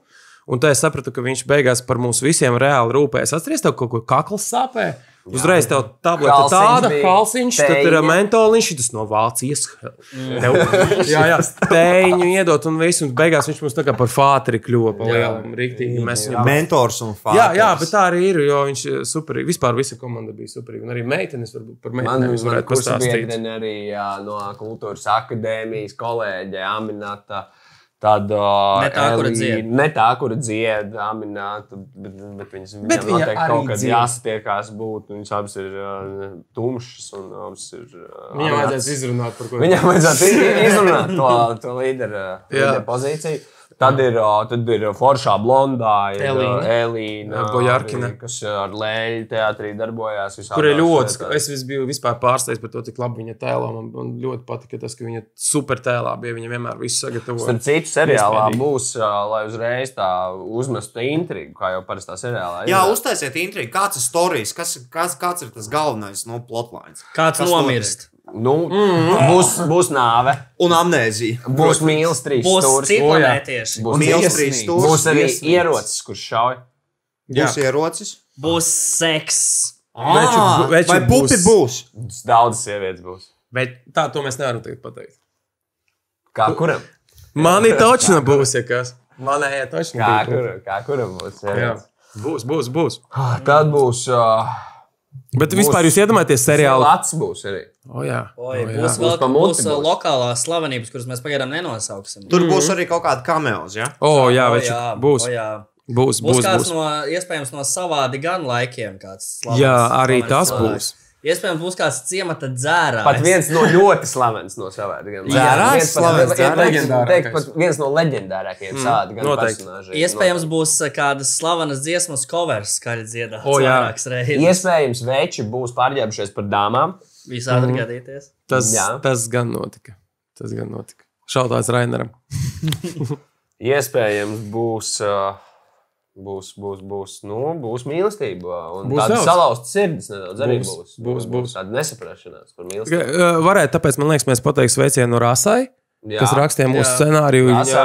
Speaker 4: Un tā es sapratu, ka viņš beigās par mums visiem reāli rūpējas. Atcerieties, tev kaut ko kakls sāpēja. Uzreiz tev tā tableta
Speaker 5: Kalsiņš
Speaker 4: tāda,
Speaker 5: bija,
Speaker 4: kalsiņš, tad ir
Speaker 5: teļa.
Speaker 4: mentoliņš, tas no Vācijas.
Speaker 5: Mm.
Speaker 4: Tev, jā, jā, steiņu iedot un viss, un beigās viņš mums tā kā par fāteri kļuva pa lielam, riktīgi. Mēs viņu
Speaker 3: Mentors un fans.
Speaker 4: Jā, jā, bet tā arī ir. Jo viņš ir superīgs. Vispār visa komanda bija superīga. Un arī meitenes varbūt par
Speaker 5: Man
Speaker 4: meitenēm jūs
Speaker 5: viņa
Speaker 4: varētu pastāstīt.
Speaker 5: kursabiedrene arī jā, no kultūras akadēmijas kolēģe Aminata. Tāda
Speaker 6: Ne tā, kura dzied.
Speaker 5: ne tā, kura dziedā, amināta, bet, bet viņas
Speaker 4: Bet
Speaker 5: viņam
Speaker 4: viņa
Speaker 5: noteikti
Speaker 4: arī
Speaker 5: kaut kad
Speaker 4: dzied.
Speaker 5: jāsatiekās būt. un Viņas abas ir uh, tumšas un abas ir. Uh,
Speaker 4: Viņam vajadzēs izrunāt par ko.
Speaker 5: Viņam vajadzētu i- izrunāt to, to līderu
Speaker 4: Jā.
Speaker 5: līderu pozīciju. Tad ir, o, tad ir foršā blondā, ir o,
Speaker 6: Elīna.
Speaker 5: Elīna,
Speaker 4: Jā, Bojarkina.
Speaker 5: arī, kas ar Lēļu teātrī darbojās.
Speaker 4: Kur ir
Speaker 5: visādās
Speaker 4: ļoti,
Speaker 5: lietās.
Speaker 4: es vis- biju vispār pārsteigts par to, cik labi viņa tēlā. Man, man ļoti patika tas, ka viņa super tēlā bija. Viņa vienmēr visu sagatavoja.
Speaker 5: Starp citu, seriālā
Speaker 4: Iespējīgi.
Speaker 5: būs, ā, lai uzreiz tā uzmestu intrigu, kā jau parastā seriālā.
Speaker 3: Jā,
Speaker 5: ir.
Speaker 3: uztaisiet intrigu. Kāds ir stāstījis? Kas, kas, kāds ir tas galvenais no plotlines?
Speaker 6: Kāds
Speaker 3: Kas
Speaker 6: nomirst?
Speaker 5: nu, būs, būs nāve,
Speaker 3: Un amnēzija.
Speaker 5: būs mīlestības trīs
Speaker 6: Būs
Speaker 5: stūri.
Speaker 6: citi planētieši.
Speaker 5: Būs
Speaker 3: Mīlestības
Speaker 5: tiesnība,
Speaker 3: stūris,
Speaker 5: Būs arī
Speaker 3: tiesnība.
Speaker 5: ierocis, kurš šauj.
Speaker 3: Būs ierocis.
Speaker 6: Būs seks.
Speaker 4: Veču- veču
Speaker 3: Vai pupi būs?
Speaker 5: Daudzas sievietes būs.
Speaker 4: Bet tā to mēs nevaram tagad pateikt.
Speaker 5: Kā kuram?
Speaker 4: Man ir točna būs, ja kas. Manējā točna.
Speaker 5: Kā,
Speaker 4: bija
Speaker 5: kur, kā kuram būs?
Speaker 4: būs. Jā.
Speaker 5: sievietes?
Speaker 4: Būs, būs, būs.
Speaker 5: Tad būs. Uh,
Speaker 4: Bet vispār jūs iedomājaties seriālu?
Speaker 5: Lats būs arī.
Speaker 4: O, jā. O,
Speaker 6: Oi,
Speaker 4: jā.
Speaker 6: būs vēl
Speaker 5: pa muti
Speaker 6: būs, uh,
Speaker 5: būs.
Speaker 6: lokālās slavenības, kuras mēs pagaidām nenosauksim.
Speaker 3: Tur būs arī kaut kāda kameos, ja?
Speaker 4: O, jā,
Speaker 6: O,
Speaker 4: veču, būs.
Speaker 6: o, jā.
Speaker 4: Būs,
Speaker 6: Būs,
Speaker 4: būs,
Speaker 6: būs kāds
Speaker 4: būs.
Speaker 6: būs. no iespējams no savādi gan laikiem. Kāds, slavens,
Speaker 4: Jā, arī
Speaker 6: slavens
Speaker 4: tas
Speaker 6: cilvēks.
Speaker 4: būs.
Speaker 6: Iespējams, būs kāds ciemata dzērājs.
Speaker 5: Pat viens no ļoti slavens no savām
Speaker 3: Dzērājs slavens,
Speaker 4: dzērājs.
Speaker 5: Teikt, pat viens no leģendārākajiem mm, sādi gan
Speaker 4: noteikti.
Speaker 5: personāžiem.
Speaker 6: Iespējams, būs uh, kādas slavenas dziesmas, covers, kā arī dziedāts
Speaker 4: O, jā.
Speaker 6: vairākas reizes.
Speaker 5: Iespējams, veči būs pārģērbušies par dāmām.
Speaker 6: Visādi var gadīties.
Speaker 4: Tas,
Speaker 5: Jā.
Speaker 4: tas gan notika. Tas gan notika. Šautājs Rainaram.
Speaker 5: Iespējams, būs, ā, būs, būs, būs, nu, būs mīlestība. Un
Speaker 4: Būs
Speaker 5: būs tāda
Speaker 4: daudz.
Speaker 5: salauzta sirds nedaudz arī
Speaker 4: Būs,
Speaker 5: būs.
Speaker 4: būs, būs.
Speaker 5: Tāda nesaprašanās par
Speaker 4: Tikai,
Speaker 5: mīlestību.
Speaker 4: eh, Varētu, tāpēc man liekas, mēs pateiksim sveicienu Rasai,
Speaker 5: Jā.
Speaker 4: kas rakstīja mūsu
Speaker 6: Jā.
Speaker 4: scenāriju. Viņa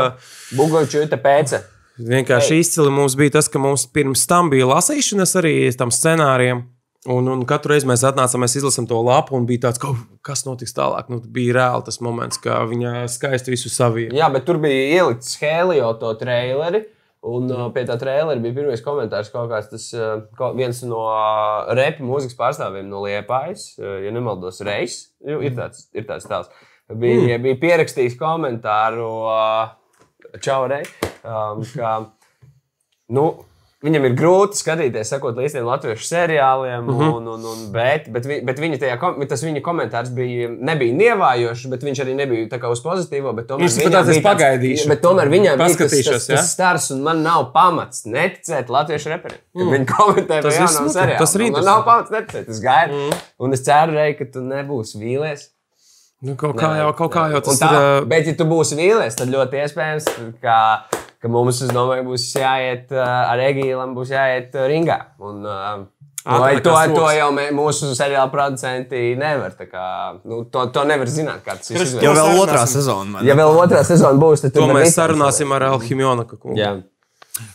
Speaker 5: Buļbuļsaktas pēca.
Speaker 4: vienkārši
Speaker 5: Ei.
Speaker 4: izcili mums bija tas, ka mums pirms tam bija lasīšanas arī tam scenārijam. Un, un katru reizi mēs atnācām, mēs izlasām to lapu, un bija tāds, ka, oh, kas notiks tālāk. Nu, bija reāli tas moments, ka viņa skaisti visu savīja.
Speaker 5: Jā, bet tur bija ielikts Helio to traileri. Un uh, pie tā trījuma bija pirmais komentārs, kaut kāds tas, uh, ko- viens no uh, repa mūzikas pārstāvjiem no Liepājas, uh, ja nemaldos, reizes. Ir tāds, ir tāds stāsts. Bija, mm. bija pierakstījis komentāru uh, Čaurei, um, ka nu, viņam ir grūti skatīties, sekot līdz tiem latviešu seriāliem, mm
Speaker 4: Mhm.
Speaker 5: -hmm. un, un, un, bet, bet, vi- bet viņa tajā, kom- tas viņa komentārs bija, nebija nievājošs, bet viņš arī nebija tā kā uz pozitīvo. bet tomēr
Speaker 4: Viņš ir
Speaker 5: viņam
Speaker 4: tāds,
Speaker 5: bija
Speaker 4: "Es pagaidīšu,
Speaker 5: Bet tomēr viņam bija tas,
Speaker 4: paskatīšos,
Speaker 5: tas,
Speaker 4: ja?"
Speaker 5: tas stars, un man nav pamats neticēt latviešu reperiem. Mm. Viņi komentē par
Speaker 4: Tas viss
Speaker 5: jaunu
Speaker 4: notiek,
Speaker 5: seriālu.
Speaker 4: tas ir
Speaker 5: un Man
Speaker 4: interesanti.
Speaker 5: nav pamats neticēt, tas gaidu. Mm. Un es ceru, Rei, ka tu nebūsi vīlies.
Speaker 4: Nu, kaut kā jau, kaut kā jau
Speaker 5: Un
Speaker 4: tas
Speaker 5: tā,
Speaker 4: ir. eh,
Speaker 5: Bet, ja tu būsi vīlies, tad ļoti iespējams, ka, ka mums, es domāju, būs jāiet uh, ar Egīlu, būs jāiet uh, ringā. Un, uh, Vai
Speaker 4: Ātrākās
Speaker 5: to,
Speaker 4: rokas.
Speaker 5: to jau mē, mūsu seriāla producenti nevar? tā Kā, nu, to, to nevar zināt, kāds tas
Speaker 3: Jau
Speaker 5: izvēlēsies.
Speaker 3: vēl
Speaker 4: sarunāsim.
Speaker 3: otrā sezona.
Speaker 5: Ja
Speaker 3: man.
Speaker 5: vēl otrā sezona būs, tad
Speaker 4: To
Speaker 5: tur
Speaker 4: mēs sarunāsim ar Alhimjonu.
Speaker 5: Jā.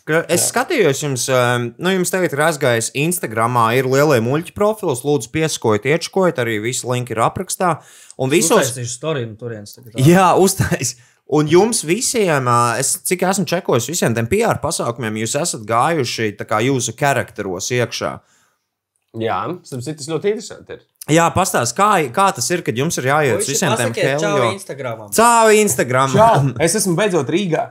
Speaker 3: Ka Es skatījos, jums, em, nu, jums tagad ir aizgājis Instagramā, ir lielie muļķi profils. Lūdzu, pieskojiet, iečkojiet, arī visi linki ir aprakstā. Un visos,
Speaker 6: Uztaisīšu storiju no turienes. tagad.
Speaker 3: Jā, uztais. Un jums visiem, ā, es, cik esmu čekojis, visiem tiem PR pasākumiem, jūs esat gājuši tā kā jūsu charakteros iekšā.
Speaker 5: Jā, starp citu, tas ļoti interesanti. Ir.
Speaker 3: Jā, pastāstiet, kā, kā tas ir, kad jums ir jāiet uz
Speaker 6: Puiši,
Speaker 3: visiem tiem
Speaker 6: pasakiet čau
Speaker 3: helio.
Speaker 6: Instagramam.
Speaker 3: Cāvi Instagram.
Speaker 4: Es esmu beidzot Rīgā.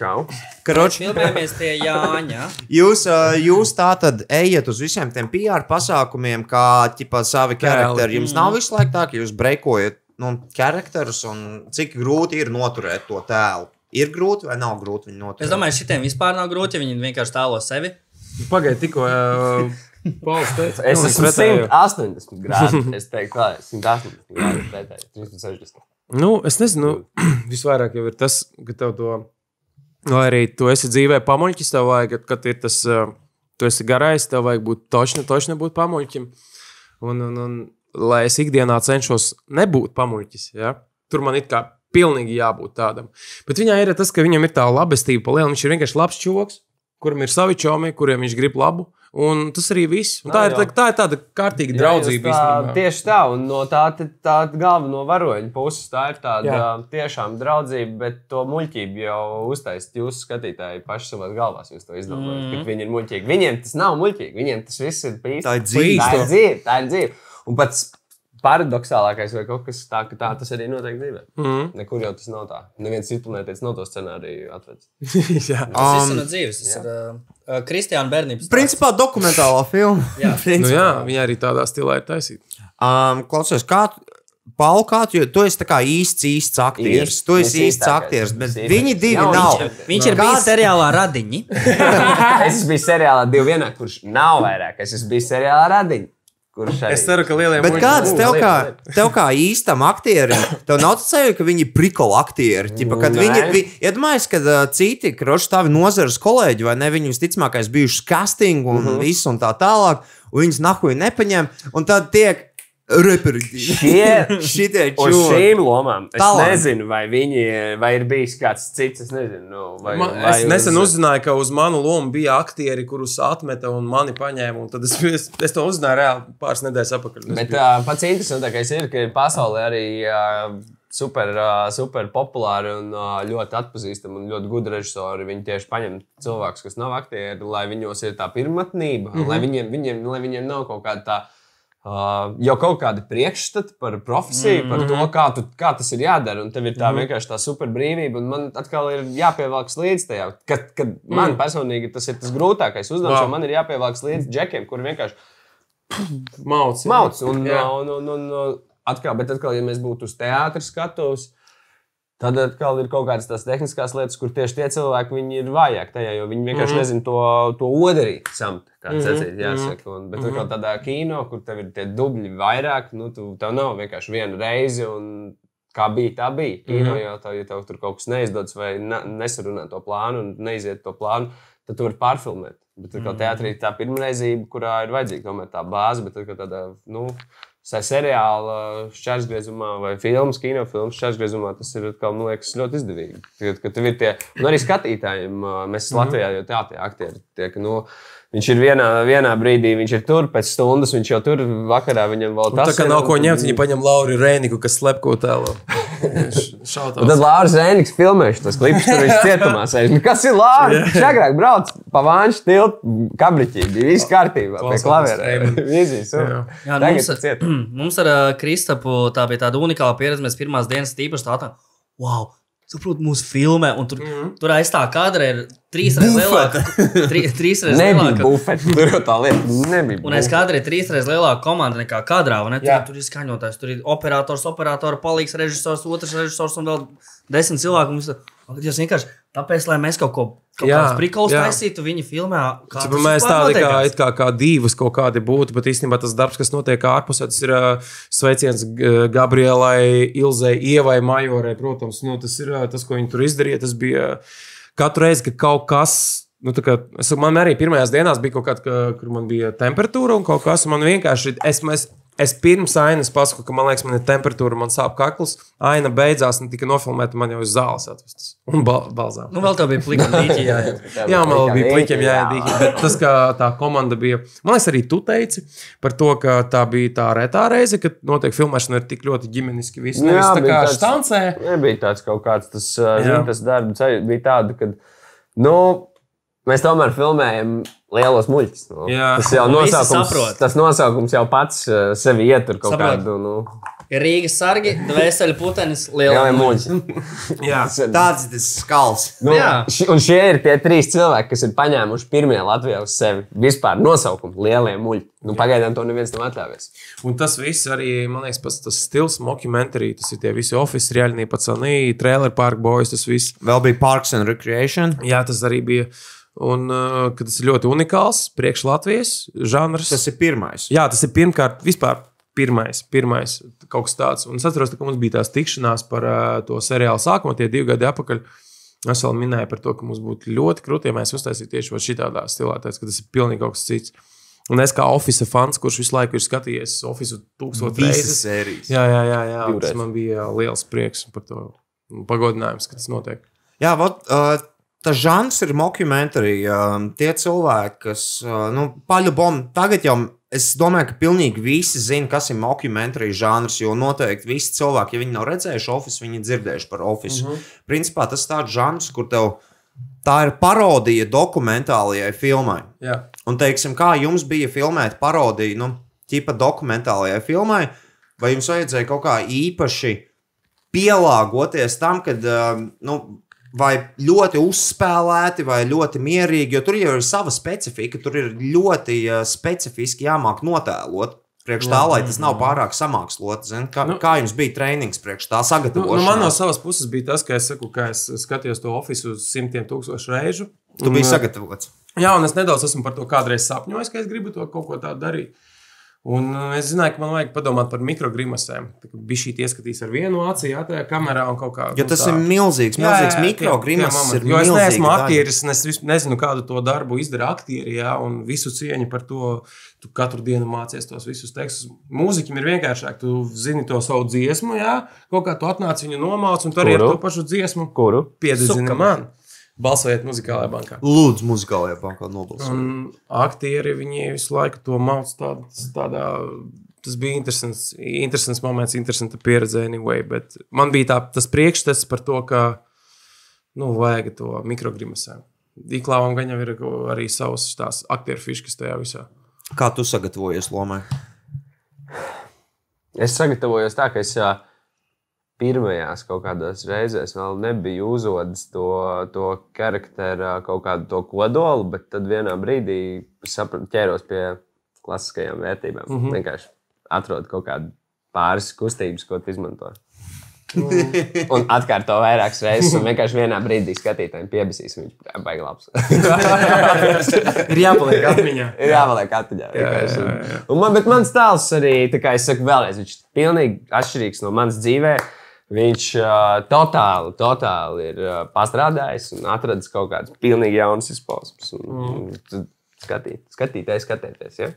Speaker 5: Čau.
Speaker 3: Karoč,
Speaker 6: Filmējamies pie Nu, Jāņa.
Speaker 3: jūs, ā, jūs tā tad ejat uz visiem tiem PR pasākumiem, kā ķipā, savi charakteri.
Speaker 6: Mm.
Speaker 3: Jums nav visu laiku tā, ka jūs breikojat nu, charakterus un cik grūti ir noturēt to tēlu. Ir grūti vai nav grūti viņu noturēt?
Speaker 6: Es domāju, šitiem vispār nav grūti, ja viņi vienkārši tālo sevi.
Speaker 4: Pagaidiet, tikko uh, Pauls teica,
Speaker 5: Nu, Es
Speaker 4: ka
Speaker 5: esmu 180 grādi. Es teiktu, ka 180 grādi pretēji 360.
Speaker 4: Nu, es nezinu, visvairāk jau ir tas, ka tev to, vai Nu, arī tu esi dzīvē pamuļķis, tev vajag, kad ir tas, ā, tu esi garais, tev vajag būt tošņa, tošņa būt pamuļķim. Un, un, un lai es ikdienā cenšos nebūt pamuļķis, ja? tur man it kā pilnīgi jābūt tādam. Bet viņai ir tas, ka viņam ir tā labestība, pa lielu, viņš ir vienkārši labs čoks, kuram ir savi čomi, kuriem viņš grib labu. Un tas arī viss. Un tā,
Speaker 5: Jā,
Speaker 4: ir, tā,
Speaker 5: jā.
Speaker 4: tā ir tāda kārtīga draudzība.
Speaker 5: Jā, jūs
Speaker 4: īstenībā.
Speaker 5: tā, tieši tā, un no tā, tā galvenā varoņa puses tā ir tāda jā. tiešām draudzība, bet to muļķību jau uztaisīt jūsu skatītāji paši savā galvā. Jūs to izdomājat, mm. ka viņi ir muļķīgi. Viņiem tas nav muļķīgi, viņiem tas viss ir pīsti.
Speaker 3: Tā ir dzīve.
Speaker 5: Tā ir dzīve, tā ir dzīve. Un pats paradoxālākais vai kaut kas tāds, ka tā tas arī notiek dzīvē. Mm. Nekur jau tas nav tā. Neviens cits planētas nav to scenāriju atvedis.
Speaker 4: Jā.
Speaker 6: Tas viss ir no dzīves. Tas ir uh, uh, Kristiāna bērnības.
Speaker 3: Um, Principā dokumentālā filma.
Speaker 6: Jā.
Speaker 4: Nu, jā, viņa arī tādā stilā ir taisīta.
Speaker 3: Um, klausies, kā tu, Paul, kā tu, tu esi tā kā īsts, īsts aktieris.
Speaker 5: Īsts,
Speaker 3: Tu esi
Speaker 5: mēs
Speaker 3: īsts
Speaker 5: īstākais,
Speaker 3: aktieris, bet
Speaker 5: mēs
Speaker 3: viņi
Speaker 5: īstākais.
Speaker 3: divi
Speaker 5: Jā, un
Speaker 3: nav.
Speaker 5: viņš
Speaker 6: Viņš ir bijis seriālā radiņi.
Speaker 5: es biju seriālā divi vienā, kurš nav vairāk. Es esmu bijis seriālā radiņš. Kurš arī...
Speaker 4: Es ceru, ka lieliem
Speaker 3: Bet kāds
Speaker 5: Ū,
Speaker 3: tev kā,
Speaker 5: lieta,
Speaker 3: tev kā īstam aktierim, tev nav tas sajūta, ka viņi ir prikola aktieri? Ķipa, kad
Speaker 5: Nē.
Speaker 3: viņi, vi, iedomājies, ka uh, citi kroši tavi nozares kolēģi vai ne, viņi visticamākais bijuši casting un mm -hmm. viss un tā tālāk, un viņus nahuji nepaņem, un tad tiek reperitīvi.
Speaker 5: Šie,
Speaker 3: Šitie
Speaker 5: Uz
Speaker 3: čūri.
Speaker 5: šīm lomām es
Speaker 3: Talanti.
Speaker 5: Talant. nezinu, vai viņi vai ir bijis kāds cits. Es nezinu, nu, vai,
Speaker 4: Man,
Speaker 5: vai
Speaker 4: es nesen uzzināju, ka uz manu lomu bija aktieri, kurus atmeta un mani paņēma. un Tad es, es, es to uzzināju reāli pāris nedēļas atpakaļ. Es
Speaker 5: Bet
Speaker 4: biju-
Speaker 5: uh, pats interesantākais ir, ka pasaulē arī uh, super, uh, super populāri un uh, ļoti atpazīstami un ļoti gudri režisori. Viņi tieši paņem cilvēkus, kas nav aktieri, lai viņos ir tā pirmatnība, mm -hmm. lai, viņiem, viņiem, lai viņiem nav kaut kāda tā. Uh, jau kaut kāda priekšstata par profesiju, mm -hmm. par to, kā, tu, kā tas ir jādara. Un tev ir tā mm -hmm. vienkārši tā superbrīvība, un man atkal ir jāpievelkas līdzi tajā. Kad, kad mm. man personīgi tas ir tas grūtākais uzdevums,
Speaker 4: Wow.
Speaker 5: wow. jo man ir jāpievelkas līdzi džekiem, kur vienkārši
Speaker 4: Mauts.
Speaker 5: Mauts. Un,
Speaker 4: Jā.
Speaker 5: un, un, un, un atkal, bet atkal, ja mēs būtu uz teātras skatuves, tad atkal ir kaut kādas tās tehniskās lietas, kur tieši tie cilvēki viņi ir vājāki tajā, jo viņi vienkārši mm -hmm. nezina to, to odarīt. Samt, kā cecīt, jāsaka. Un, bet atkal tādā kino, kur tev ir tie dubļi vairāk, nu, tu, tev nav vienkārši viena reize. Un, Kā bija, tā bija. Kino, mm -hmm. jo, tā, ja tev tur kaut kas neizdodas, vai ne, nesarunā to plānu, un neiziet to plānu, tad tu vari pārfilmēt. Bet tur kā teātrī ir tā pirmreizība, kurā ir vajadzīga tomēr tā bāze, bet tur kā tādā, nu, sa- seriāla šķērsgriezumā vai filmas, kinofilmas šķērsgriezumā tas ir, atkal, man liekas, ļoti izdevīgi. Kad, kad tev ir tie, un arī skatītājiem, ā, mēs
Speaker 4: Mhm.
Speaker 5: Latvijā jau teātrī aktieri tiek, nu, viņš ir vienā, vienā brīdī, viņš ir tur, pēc stundas viņš jau tur, vakarā viņam vēl
Speaker 4: Un
Speaker 5: tas
Speaker 4: tā kā
Speaker 5: ir,
Speaker 4: nav
Speaker 5: un
Speaker 4: ko
Speaker 5: tad-
Speaker 4: ņemt, viņi paņem Lauru Rēniku, kas slepko tēlu.
Speaker 5: Un tad Lārs Zēniks filmēja šo klipu, tur viņš cietumā sēž. Nu, kas ir Lārs? Viņš agrāk brauc pa vāņu tiltu, kabriķī, bija viss kārtībā, pie
Speaker 4: Klausās
Speaker 5: klavierēm.
Speaker 4: Raymond.
Speaker 5: Vizijas, un-
Speaker 6: Jā, nu,
Speaker 5: Tagad
Speaker 6: mums, ar,
Speaker 5: cietumā.
Speaker 6: mums ar ā, Kristapu tā bija tāda unikāla pieredze. Mēs pirmās dienas tīpaši tādā, wow, saprotu, mūsu filmē, un tur, mm
Speaker 5: Mhm.
Speaker 6: -hmm. tur aiz tā kadra ir trīs reizes lielāka. Tri, trīs reizes
Speaker 5: Nebija
Speaker 6: lielāka.
Speaker 5: bufeti, tur jau tā lieta nebija.
Speaker 6: Un es
Speaker 4: Nu.
Speaker 5: bufeti.
Speaker 6: kādreiz trīs reizes lielāka komanda nekā kadrā. vai Ne? Tur,
Speaker 5: Jā.
Speaker 6: tur ir skaņotājs, tur ir operators, operators, palīgs režisors, otrs režisors un vēl desmit cilvēku. Mums, ir- un tad jūs vienkārši tāpēc, lai mēs kaut ko
Speaker 4: Jā,
Speaker 6: tādu prikolu
Speaker 4: jā.
Speaker 6: taisītu, viņi filmē. kā
Speaker 4: Cipa,
Speaker 6: tas
Speaker 4: mēs
Speaker 6: vispār
Speaker 4: tādi kā,
Speaker 6: notiekās.
Speaker 4: it kā, kā divas kaut kādi būtu, bet īstenībā tas darbs, kas notiek ārpusē, tas ir ā, sveiciens G- Gabrielai, Ilzai, Ievai, Majorai. Protams, nu, tas ir ā, tas, ko viņi tur izdarīja. Tas bija katru reizi, kad kaut kas Nu, tā kā, es, man arī pirmajās dienās bija kaut kāda, ka- kur man bija temperatūra un kaut kas. un Man vienkārši, es, es, es pirms ainas pasaku, ka man liekas, man ir temperatūra, man sāp kakls. Aina beidzās, un tika nofilmēta man jau uz zāles atvestas. Un bal, balzām.
Speaker 6: Nu, vēl tā bija plika līķi, jā. jā.
Speaker 4: Jā, man vēl bija pliķiem jāiedīk. Bet tas, kā tā komanda bija, man liekas, arī tu teici par to, ka tā bija tā retā reize, kad notiek filmēšana ir tik ļoti ģimeniski.
Speaker 3: Nu
Speaker 4: Viss nevis tā kā štancē.
Speaker 5: Nebija tāds kaut kāds tas, uh,
Speaker 4: Jā.
Speaker 5: zini, tas darbs, arī bija tāds, ka nu, mēs tomēr filmējam lielos muļķus. Nu.
Speaker 4: Jā.
Speaker 5: Tas jau
Speaker 6: Un visi
Speaker 5: nosaukums,
Speaker 6: saprot.
Speaker 5: tas nosaukums jau pats uh, sevi ietur kaut
Speaker 6: Saprot.
Speaker 5: kādu nu,
Speaker 6: Ir Rīgas sargi, dvēseli putenis, lielā
Speaker 5: lielie muļķi.
Speaker 4: Jā.
Speaker 3: Tāds ir tas skals.
Speaker 5: Nu,
Speaker 6: Jā.
Speaker 5: ši- un šie ir tie trīs cilvēki, kas ir paņēmuši pirmie Latvijā uz sevi vispār nosaukumu lielie muļķi. Nu, pagaidām to neviens nav atļāvies.
Speaker 4: Un tas viss arī, man liekas, pats tas stils, dokumentāri, tas ir tie visi oficiāli, reāli pacanīji, trailer park boys, tas viss.
Speaker 3: Vēl bija Parks and Recreation.
Speaker 4: Jā, tas arī bija. Un uh, ka tas ir ļoti unikāls, priekš Latvijas žanrs.
Speaker 3: Tas ir pirmais.
Speaker 4: Jā, tas ir pirmkārt, vispār pirmais, pirmais kaut kas tāds. Un es atceros, ka mums bija tās tikšanās par uh, to seriālu sākumu, tie divi gadi atpakaļ. Es vēl minēju par to, ka mums būtu ļoti krūti, ja mēs uztaisītu tieši šādā stilā, tāds, ka tas ir pilnīgi kaut kas cits. Un es kā oficiāls fans, kurš visu laiku ir skatījies oficiālu tūkstošu
Speaker 3: Visas
Speaker 4: reizes.
Speaker 3: sērijas.
Speaker 4: Jā, jā, jā, jā. un
Speaker 5: Divreiz.
Speaker 4: tas man bija liels prieks par to un pagodinājums, ka tas notiek.
Speaker 3: Jā, vat, uh, tas žanrs ir mockumentary. Uh, tie cilvēki, kas uh, nu, paļubom, tagad jau. Es domāju, ka pilnīgi visi zina, kas ir mockumentary žanrs, jo noteikti visi cilvēki, ja viņi nav redzējuši oficiālu, viņi ir dzirdējuši par oficiālu. Mm -hmm. Principā tas ir tāds žanrs, kur tev tā ir parodija dokumentālajai filmai.
Speaker 4: Jā.
Speaker 3: Un, teiksim, kā jums bija filmēt parodiju, nu, tipā dokumentālajai filmai, vai jums vajadzēja kaut kā īpaši pielāgoties tam, kad, um, nu, vai ļoti uzspēlēti, vai ļoti mierīgi, jo tur jau ir sava specifika, tur ir ļoti uh, specifiski jāmāk notēlot. Priekš tā, lai tas
Speaker 4: Mm-hmm.
Speaker 3: nav pārāk samākslots. zini, Kā, nu, kā jums bija treniņš priekš tā
Speaker 4: Nu, nu, man no
Speaker 3: sagatavošanās?
Speaker 4: savas puses bija tas, ka es, saku, ka es skatījos to oficiālu simtiem tūkstošu reižu.
Speaker 3: Tu biji
Speaker 4: Mm.
Speaker 3: sagatavots.
Speaker 4: Jā, un es nedaudz esmu par to kādreiz sapņojis, ka es gribu to kaut ko tādu darīt. Un uh, es zināju, ka man vajag padomāt par mikrogrimasēm. Bija šī ieskatījis ar vienu aci, jā, tajā kamerā un kaut kā.
Speaker 3: Jo
Speaker 4: nu,
Speaker 3: tas
Speaker 4: tā.
Speaker 3: ir milzīgs,
Speaker 4: Jā, jā,
Speaker 3: milzīgs
Speaker 4: jā,
Speaker 3: mikrogrimas.
Speaker 4: tie- tie
Speaker 3: ir
Speaker 4: momenti. Jo es
Speaker 3: milzīga
Speaker 4: neesmu
Speaker 3: daļa.
Speaker 4: aktieris, un es vis- nezinu, kādu to darbu izdara aktieri, jā, un visu cieņu par to. Tu katru dienu mācies tos visus tekstus. Mūziķim ir vienkāršāk, tu zini to savu dziesmu, jā, kaut kā tu atnāc viņu nomāc, un tu arī ar
Speaker 5: Kuru?
Speaker 4: to pašu dziesmu
Speaker 5: Kuru?
Speaker 4: piedzīvo man. Balsojiet muzikālajā bankā.
Speaker 3: Lūdzu, muzikālajā bankā nobalsot.
Speaker 4: Un aktieri viņi visu laiku to mācīja. Tād, tādā, tas bija interesants, interesants moments, interesanta pieredze. Anyway, bet man bija tā, tas priekšstats par to, ka nu, vajag to mikrogrimasēm. Iklāvam gan jau ir arī savs tās aktieru fiškas tajā visā.
Speaker 3: Kā tu sagatavojies lomai?
Speaker 5: Es sagatavojos tā, ka es ā, pirmajās kaut kādās reizēs vēl nebiju uzvedis to, to charakteru, kaut kādu to kodolu, bet tad vienā brīdī sapra- ķēros pie klasiskajām vērtībām. Mm -hmm. Vienkārši atrod kaut kādu pāris kustības, ko tu izmanto. un atkārto vairākas reizes, un vienkārši vienā brīdī skatītājiem piebisīs, viņš baigi labs.
Speaker 4: Ir jāpaliek atmiņā.
Speaker 5: Ir jāpaliek atmiņā. vienkārši.
Speaker 4: jā, jā, jā.
Speaker 5: Un Man, bet mans tēls arī, tā kā es saku, vēlreiz, viņš ir pilnīgi atšķirīgs no manas dzīves. Viņš uh, totāli, totāli ir uh, pastrādājis un atradis kaut kādas pilnīgi jaunas izpausmes. Un,
Speaker 4: Mm.
Speaker 5: un tad Skatīt, skatīties, skatīties. Ja?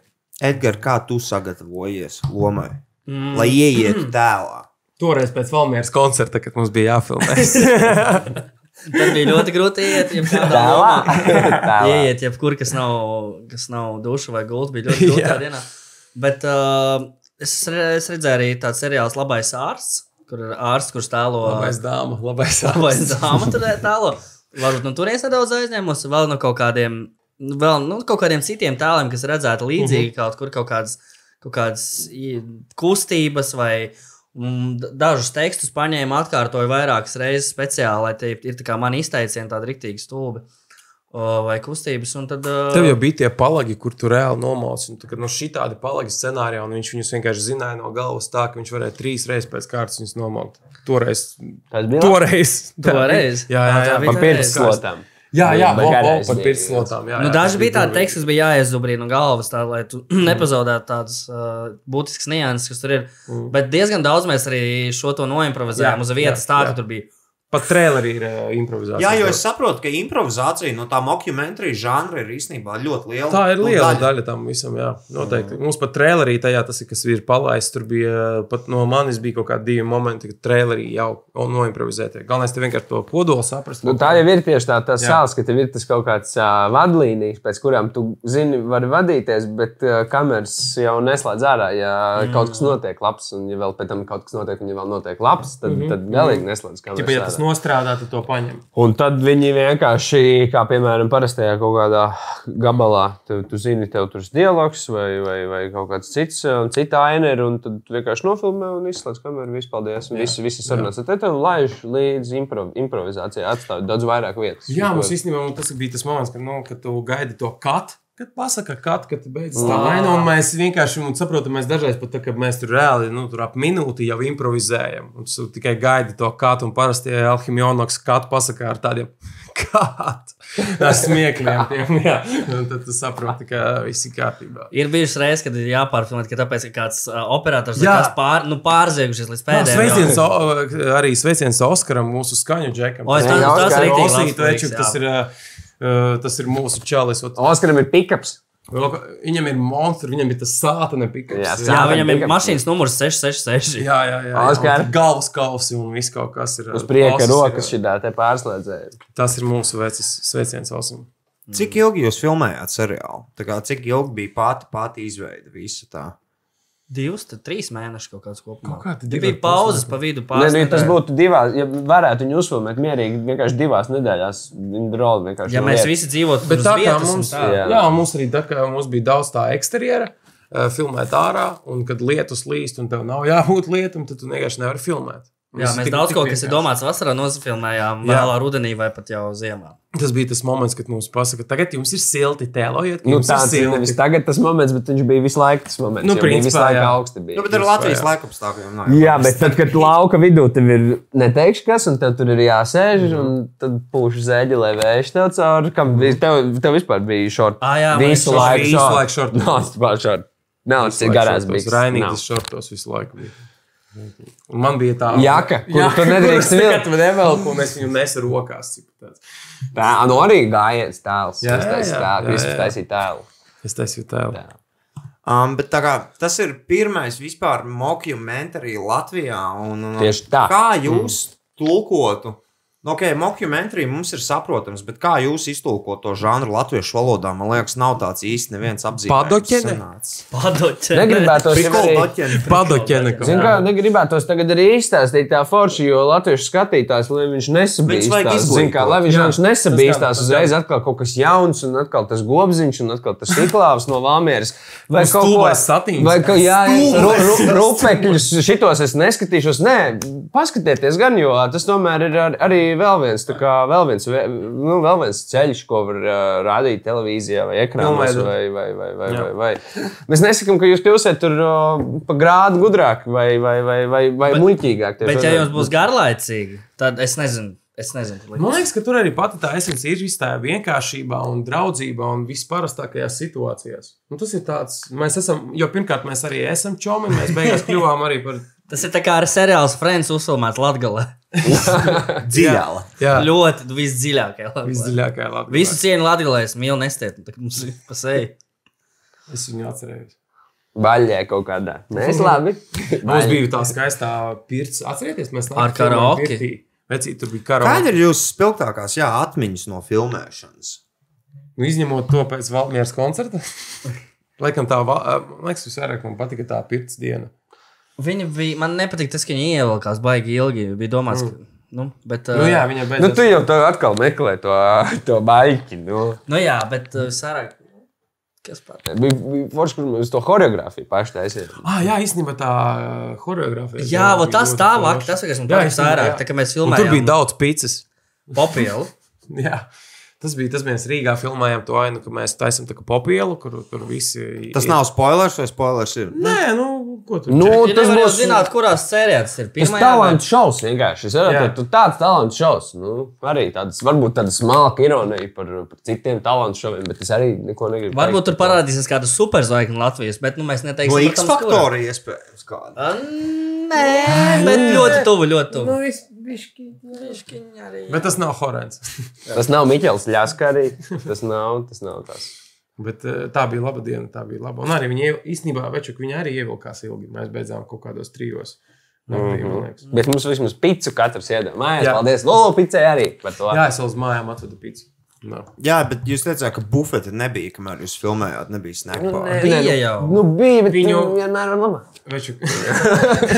Speaker 3: Edgars, kā tu sagatavojies lomai? Mm. Lai ieietu tēlā.
Speaker 4: Toreiz pēc Valmieras koncerta, kad mums bija jāfilmē.
Speaker 6: Tad bija ļoti grūti iet, ja kādā
Speaker 5: Tēlā.
Speaker 6: lomā.
Speaker 5: Tēlā.
Speaker 6: Iet, jebkur, kas nav, kas nav duša vai gulta, bija ļoti grūti tajā dienā. Bet uh, es, re- es redzēju arī tādu seriālu Labais ārsts, kur ir ārsts, kurš tēlo
Speaker 4: Labais dāma, labais
Speaker 6: Labais
Speaker 4: dāma.
Speaker 6: dāma, tur tēlo. Varbūt no turienes nedaudz aizņēmos, vēl no kaut kādiem, vēl, nu, kaut kādiem citiem tēliem, kas redzētu līdzīgi
Speaker 4: Mhm.
Speaker 6: kaut kur kaut kādas, kaut kādas i- kustības vai mm, d- dažus tekstus paņēma, atkārtoja vairākas reizes speciāli, lai tie ir tā kā mani izteicieni tādi riktīgi stulbi. o, Vai kustības, un tad. ā,
Speaker 4: Tev jau bija tie palagi, kur tu reāli nomauci. Tur no šī tāda palagi scenārijā, un viņš viņus vienkārši zināja no galvas tā, ka viņš varēja trīs reizes pēc kārtas viņus nomaukt. Toreiz.
Speaker 5: Tas bija
Speaker 4: Toreiz.
Speaker 6: Toreiz? Ah,
Speaker 4: Jā, jā, jā.
Speaker 6: Tā
Speaker 5: par
Speaker 6: bija
Speaker 5: pirkslotām.
Speaker 4: Jā, jā,
Speaker 5: Vai
Speaker 4: o, o,
Speaker 5: garēs
Speaker 4: par
Speaker 5: bija?
Speaker 4: pirkslotām. jā,
Speaker 6: Nu,
Speaker 4: jā,
Speaker 6: daži
Speaker 4: tas Mm.
Speaker 6: bija tādi
Speaker 4: durvīgi.
Speaker 6: teksti, kas bija jāiezubrīna no galvas, tā, lai tu nepazaudētu tādas uh, būtiskas nianses, kas tur ir. Mm. Bet diezgan daudz mēs arī šo to noimprovizējām
Speaker 4: Jā,
Speaker 6: uz vietas,
Speaker 4: jā,
Speaker 6: tā
Speaker 4: jā.
Speaker 6: ka tur bija.
Speaker 4: Pat trailerī ir uh, improvizācija.
Speaker 3: Jā, jo es saprotu, ka improvizācija no tā dokumentālā žanra ir īstenībā ļoti liela.
Speaker 4: Tā ir
Speaker 3: nu,
Speaker 4: liela daļa. daļa tam visam, jā, noteikti. Mums pat trailerī tajā tas ir, kas ir palaists. Tur bija eh, pat no manis bija kaut kādi divi momenti, kad trailerī jau noimprovizētie. Galvenais ir vienkārši to kodolu saprast.
Speaker 5: Nu, tā jau ir tieši tā, tā
Speaker 4: Jā.
Speaker 5: sāle, ka tev ir tas kaut kāds uh, vadlīnijas, pēc kurām tu zini, vari vadīties, bet uh, kameras jau neslēdz ārā. Ja mm. kaut kas notiek labs, un ja vēl pēc tam kaut kas notiek, un ja vēl notiek labs, tad, mm -hmm. tad galīgi neslēdz kameras.
Speaker 4: Ķipa, Mhm. ja tas
Speaker 5: ārā.
Speaker 4: nostrādā, tad to paņem.
Speaker 5: Un tad viņi vienkārši, kā piemēram, parastajā kaut kādā gabalā, tu, tu zini, tev tur ir dialogs vai, vai, vai kaut kāds cits, um, cita aina, ir, un tad tu vienkārši nofilmē un izslēdz kameru, vispaldies, un visi, visi sarunās. Tad tev laiž līdz improv, improvizācijai, atstāj daudz vairāk vietas.
Speaker 4: Jā, mums īstenībā nu, tas bija tas moments, kad, nu, kad tu gaidi to katru. Kad pasakā, kad, kad beidzas tā līnija, un nu mēs vienkārši un saprotam, mēs dažreiz pat tā, ka mēs tur reāli nu, tur ap minūti jau improvizējam. Un tu tikai gaidi to katru, un parasti Alhimionoks katru pasakā ar tādiem kādiem smiekliem. Tiem, jā. un tad tu saproti, ka viss ir kārtībā.
Speaker 6: Ir bijušas reizes, kad ir jāpārfilmē, ka tāpēc, ka kāds uh, operators
Speaker 4: Jā.
Speaker 6: ir pār, nu, pārziegušies līdz
Speaker 4: Jā,
Speaker 6: pēdējiem.
Speaker 4: sveiciens, o, arī sveiciens Oskaram, mūsu skaņu džekam.
Speaker 6: O, es tam-
Speaker 5: tas
Speaker 4: Oskar,
Speaker 5: rīktīgi
Speaker 4: Osī,
Speaker 6: labs
Speaker 4: taču,
Speaker 6: prieks,
Speaker 4: tas
Speaker 6: jā.
Speaker 4: ir. uh, Tas ir mūsu čalis. ot,
Speaker 5: Oskaram ir pikaps.
Speaker 4: Vēl ka- Viņam ir monstrs, viņam ir tas sātaņa pikants.
Speaker 5: Jā,
Speaker 6: Jā,
Speaker 5: sātaņa
Speaker 6: viņam ir
Speaker 5: Tikai-
Speaker 6: mašīnas numurs 666.
Speaker 4: Jā, jā, jā. jā.
Speaker 5: Oskar.
Speaker 4: Un Galvas kausi un viss kaut kas ir.
Speaker 5: Uz prieka
Speaker 4: Ausis
Speaker 5: rokas
Speaker 4: ir.
Speaker 5: šī tā pārslēdzēja.
Speaker 4: Tas ir mūsu vecis, sveiciens ausīm.
Speaker 3: Cik ilgi jūs filmējāt seriālu? Mm. Tā kā, cik ilgi bija pati, pati izveide, visa tā.
Speaker 6: Divus, tad trīs mēnešus kaut kāds kopumā.
Speaker 4: Kaut kādi
Speaker 6: Tur
Speaker 4: divi
Speaker 6: bija pauzes pa vidu
Speaker 5: Nē, nu, ja tas
Speaker 6: pārspēlēt.
Speaker 5: būtu divās, ja varētu viņu uzfilmēt mierīgi, vienkārši divās nedēļās. Viņa drona vienkārši.
Speaker 6: Ja mēs visi dzīvotu
Speaker 4: Bet
Speaker 6: uz
Speaker 4: tā kā
Speaker 6: vietas un
Speaker 4: mums,
Speaker 6: tā.
Speaker 4: jā. Jā, un mums arī tā kā mums bija daudz tā eksteriera. eh, Filmēt ārā, un kad lietus līst, un tev nav jābūt lietam, tad tu vienkārši nevari filmēt. Un
Speaker 6: Jā,
Speaker 4: tas
Speaker 6: mēs
Speaker 4: tik-
Speaker 6: daudz
Speaker 4: tik
Speaker 6: ko, kas ir
Speaker 4: vienkārši.
Speaker 6: domāts vasarā, nozafilmējām
Speaker 4: Jā.
Speaker 6: vēlā rudenī vai pat jau ziemā.
Speaker 4: Tas bija tas moments, kad mums pasaka, tagad jums ir silti, tēlojiet, ka
Speaker 5: Nu,
Speaker 4: jums ir
Speaker 5: tāds ir nevis
Speaker 4: silti.
Speaker 5: tagad tas moments, bet viņš bija visu laiku tas moments.
Speaker 4: Nu,
Speaker 5: jo viņi visu
Speaker 4: principā,
Speaker 5: laiku
Speaker 4: jā.
Speaker 5: augsti bija.
Speaker 3: Nu, bet ar Latvijas laikapstākļiem nav.
Speaker 5: Jā, bet tad, kad lauka vidū tev ir neteikšu, kas, un tev tur ir jāsēž, mm. un tad pūš zēģi, lai vējš tev cauri, kam bija, tev, tev vispār bija šort.
Speaker 4: Ah,
Speaker 6: Ā, jā, man
Speaker 5: visu
Speaker 6: šorti,
Speaker 5: laiku.
Speaker 4: visu laiku šorti.
Speaker 5: Nā, tas bija šort. Nā, tas ir garās bija.
Speaker 4: Rainītas šortos visu laiku. Bija. Un man bija tā
Speaker 5: Jaka, kuru tu nedrīkst vilkt.
Speaker 4: vilkt. Nevelku, un es viņu nesu rokās. cik tāds.
Speaker 5: Tā, nu arī gājiens tēls.
Speaker 4: Jā,
Speaker 5: Jā, tas
Speaker 4: jā,
Speaker 5: taisīja
Speaker 4: jā,
Speaker 5: tēlu. Viss
Speaker 4: jā.
Speaker 5: taisīja tēlu.
Speaker 4: Es taisīju tēlu.
Speaker 5: Jā.
Speaker 3: Um, bet tā kā, tas ir pirmais vispār mokumentāri Latvijā. Un, un, un
Speaker 5: Tieši
Speaker 4: Ah,
Speaker 5: tā.
Speaker 3: Kā
Speaker 4: mm.
Speaker 3: jūs tulkotu? Nu, Ok, mokumentāri mums ir saprotams, bet kā jūs iztulkot to žanru latviešu valodā, man liekas, nav tāds īsti neviens
Speaker 4: Padoķene?
Speaker 3: apzīmējums.
Speaker 6: Padoķi.
Speaker 5: Negribētos jau arī-
Speaker 3: Padoķene.
Speaker 4: Padoķene kaut
Speaker 5: Zinu, kā negribētos tagad arī izstāstīt tā forši, jo latviešu skatītājs, lai viņš
Speaker 3: vajag
Speaker 5: nesabīstās. Zinu, kā,
Speaker 3: izglītot.
Speaker 5: lai viņš,
Speaker 4: Jā.
Speaker 5: viņš
Speaker 4: Tas
Speaker 5: nesabīstās
Speaker 4: gan, tas
Speaker 5: uzreiz atkal kaut kas jauns, un atkal tas gobziņš, un atkal tas iklāvs no Vāmieras. Vai
Speaker 4: Un stulbais satīns.
Speaker 5: Vai kaut jā, jā, ru, ru,
Speaker 3: Stulbais.
Speaker 5: rupekļus šitos es neskatīšos. Nē, paskatieties gan, jo tas tomēr ir ar, arī vēl viens, tā kā vēl viens, vē- nu, vēl viens ceļš, ko var uh, rādīt televīzijā vai ekrānos.
Speaker 4: Pilnveidot.
Speaker 5: Vai, vai, vai, vai,
Speaker 4: Jā.
Speaker 5: vai, vai. Mēs nesakām, ka jūs kļūsiet tur o, pa grādu gudrāk vai, vai, vai, vai, vai
Speaker 6: Bet-
Speaker 5: muļķīgāk.
Speaker 6: Bet ja jums būs garlaicīgi, tad es nezinu. Es nezinu. kur likt.
Speaker 4: Man liekas, ka tur arī pati tā esence ir visā tajā vienkāršībā, un draudzībā un visparastākajās situācijās. Un tas ir tāds, mēs esam, jo pirmkārt, mēs arī esam čomi, mēs beigās kļuvām arī par
Speaker 6: Tas ir tā kā ar seriāls Friends uzfilmēts Latgalē.
Speaker 3: Dziļāla.
Speaker 4: jā,
Speaker 6: Ļoti visdziļākajā. Latgalē.
Speaker 4: visdziļākajā Latvijā.
Speaker 6: Visu cienu Latgalē es mīlu nestiet. nu, Tā kā mums ir pasēji.
Speaker 4: Es viņu atcerējos.
Speaker 5: baļķē kaut kādā. Nē, es labi.
Speaker 4: Mums bija tā skaistā pirts, atcerieties, mēs
Speaker 6: Ar
Speaker 4: laikam filmējām
Speaker 6: karaoke?
Speaker 4: pirtī. Vecīt, tur bija karaoke.
Speaker 3: Kāda ir jūsu spilgtākās jā, atmiņas no filmēšanas?
Speaker 4: Nu, izņemot to pēc Valmijas koncerta. Laikam tā, va- man liekas, visvairāk man patika tā pirts diena.
Speaker 6: Viņa bija, man nepatīk tas, ka viņa ievilkās baigi ilgi. Bija domāts, ka. Nu, bet,
Speaker 4: Mm. Nu, jā, viņa beidzās.
Speaker 5: Nu, tu jau tā atkal meklē to, to baļķi. Nu.
Speaker 6: nu, jā, bet uh, sarāk. Kas par?
Speaker 5: Bija bija forši, kur mēs to choreogrāfiju paši taisījām.
Speaker 4: Ah, jā, īstenībā tā uh, horeogrāfija.
Speaker 6: Jā, vot tas tā vāk,
Speaker 4: forša.
Speaker 6: tas, kas man
Speaker 4: Jā,
Speaker 6: patīk
Speaker 4: īstenībā,
Speaker 6: sārāk,
Speaker 4: jā.
Speaker 6: tā kā mēs
Speaker 4: Un Tur bija
Speaker 6: filmējām
Speaker 4: daudz pizzas.
Speaker 6: popielu.
Speaker 4: Jā. Tas bija tas, mēs Rīgā filmējām to ainu, ka mēs taisām tādu popielu, kur, kur visi.
Speaker 3: Tas nav spoilers vai spoilers? Ir?
Speaker 4: Nē, nu, ko tu
Speaker 5: Nu,
Speaker 6: Ja tas būs zināt, kurās sērijās tas ir.
Speaker 5: Tas
Speaker 6: Pirmajā vai-
Speaker 5: talants šausmas vienkārši. Es
Speaker 4: Jā.
Speaker 5: redzu, ka tāds talants šausmas. Nu, arī tāds, varbūt tāda smalka ironija par, par citiem talantu šoviem, bet es arī neko negribu.
Speaker 6: Varbūt
Speaker 5: teikt.
Speaker 6: tur parādīsies kāda superzvaigzne Latvijas, bet nu, mēs neteiksim,
Speaker 3: No
Speaker 6: protams,
Speaker 3: X faktora iespējams. kāda.
Speaker 6: kura. Ā, Nē, bet ļoti tuvu, ļoti tuvu.
Speaker 5: Nu, es
Speaker 4: Bet tas nav horrors.
Speaker 5: Tas nav Mikls Ljaska arī. Tas nav tas. Nav tas.
Speaker 4: Bet eh, tā bija laba diena, tā bija laba. Un arī viņi iev- īstenībā, večuk, viņi arī ievilkās ilgi. Mēs beidzām kaut kādos trijos. Naktī, man liekas.
Speaker 5: Bet mums vismaz pīcis katrs iedod. Mājās,
Speaker 4: Jā.
Speaker 5: paldies. Lolo pīcis arī par to.
Speaker 4: Jā, es vēl uz mājām atvedu pīci. No.
Speaker 3: Jā, bet jūs teicāt, ka bufete nebija, kamēr jūs filmējāt, nebija snakpa.
Speaker 6: Bija jau.
Speaker 5: Nu, bija, bet
Speaker 4: Viņu-
Speaker 5: viņu vienmēr ir laba.
Speaker 4: Večuk,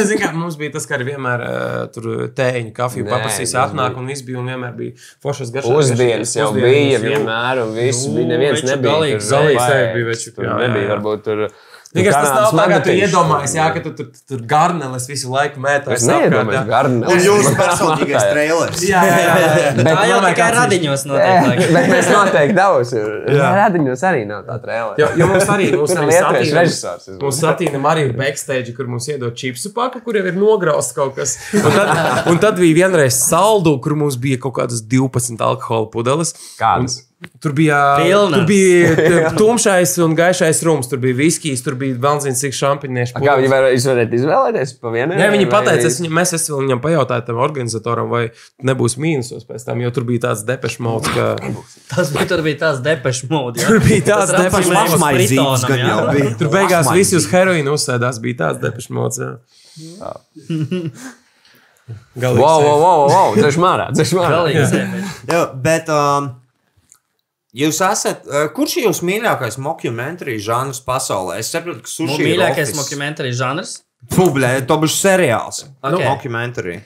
Speaker 4: zin, kā, mums bija tas, ka arī vienmēr eh, tur tēņu, kafiju
Speaker 5: Nē,
Speaker 4: paprasīs,
Speaker 5: mums
Speaker 4: atnāk un viss bija un vienmēr bija foršas garšas.
Speaker 5: Pusdienas jau bija, vienmēr, un viss
Speaker 4: Nu,
Speaker 5: bija. Neviens
Speaker 4: veču
Speaker 5: nebija.
Speaker 4: galīgi
Speaker 5: tur
Speaker 4: zalīgs
Speaker 5: vaigs,
Speaker 4: arī bija, veču,
Speaker 5: Tur
Speaker 4: jā, jā,
Speaker 5: nebija,
Speaker 4: jā.
Speaker 5: varbūt tur.
Speaker 4: Tikai tas
Speaker 5: kanāls
Speaker 4: nav tā, ka tu
Speaker 5: magnetišs.
Speaker 4: iedomājies, jā, ka tu tur tur garneles visu laiku mētājies.
Speaker 5: Es neiedomājos,
Speaker 4: apkārt, jā.
Speaker 5: garnē.
Speaker 3: Un jūsu personīgais trailers.
Speaker 4: Jā, jā, jā, jā. jā.
Speaker 5: Bet
Speaker 6: Tā jau
Speaker 4: man
Speaker 6: tikai
Speaker 4: liekas,
Speaker 6: radiņos
Speaker 5: Bet
Speaker 6: notiek. laikam.
Speaker 5: mēs noteikti daudz.
Speaker 4: Jā.
Speaker 5: Radiņos arī nav tā trēlē.
Speaker 4: Jo, jo mums arī mums
Speaker 5: Tur
Speaker 4: arī
Speaker 5: Lietuviešu
Speaker 4: satīnam-
Speaker 5: režisors, es
Speaker 4: Mums satīnam arī ir backstage, kur mums iedod čipsu paku, kur jau ir nograuzts kaut kas. Un tad, un tad bija vienreiz saldu, kur mums bija kaut kādas 12 alkohola pudeles.
Speaker 5: Kādas?
Speaker 4: Un Tur bija,
Speaker 6: Pilnas.
Speaker 4: tur bija t- tumšais un gaišais rums, tur bija viskijas, tur bija velzīns, cik šampinēšu.
Speaker 5: Kā viņi var, jūs varat izvēlēties pa vienam?
Speaker 4: Nē, viņi pateica, es viņam, mēs esam viņam pajautājuši tam organizatoram, vai nebūs mīnusos pēc tam, jo tur bija tāds depešu mauts, ka
Speaker 6: Tas bija tur bija tāds depešu mūds.
Speaker 4: Tur bija tāds Depeche Mode
Speaker 3: Mašmaizīgs gan jau bija.
Speaker 4: tur beigās visi uz heroīnu uzsēdās, bija tāds depešu mauts. jā. Galīgi.
Speaker 5: Wow, wow, wow, wow, dzirž mārā, dzirž mārā.
Speaker 3: Jā, bet um, jūs esat, uh, kurš ir jūsu mīļākais dokumentālais žanrs pasaulē? Es saprotu, ka suši ir
Speaker 6: Mīļākais dokumentārs žanrs.
Speaker 3: Publiē, to būs seriāls. Okay. Nu,
Speaker 6: Ok.
Speaker 3: dokumentārī.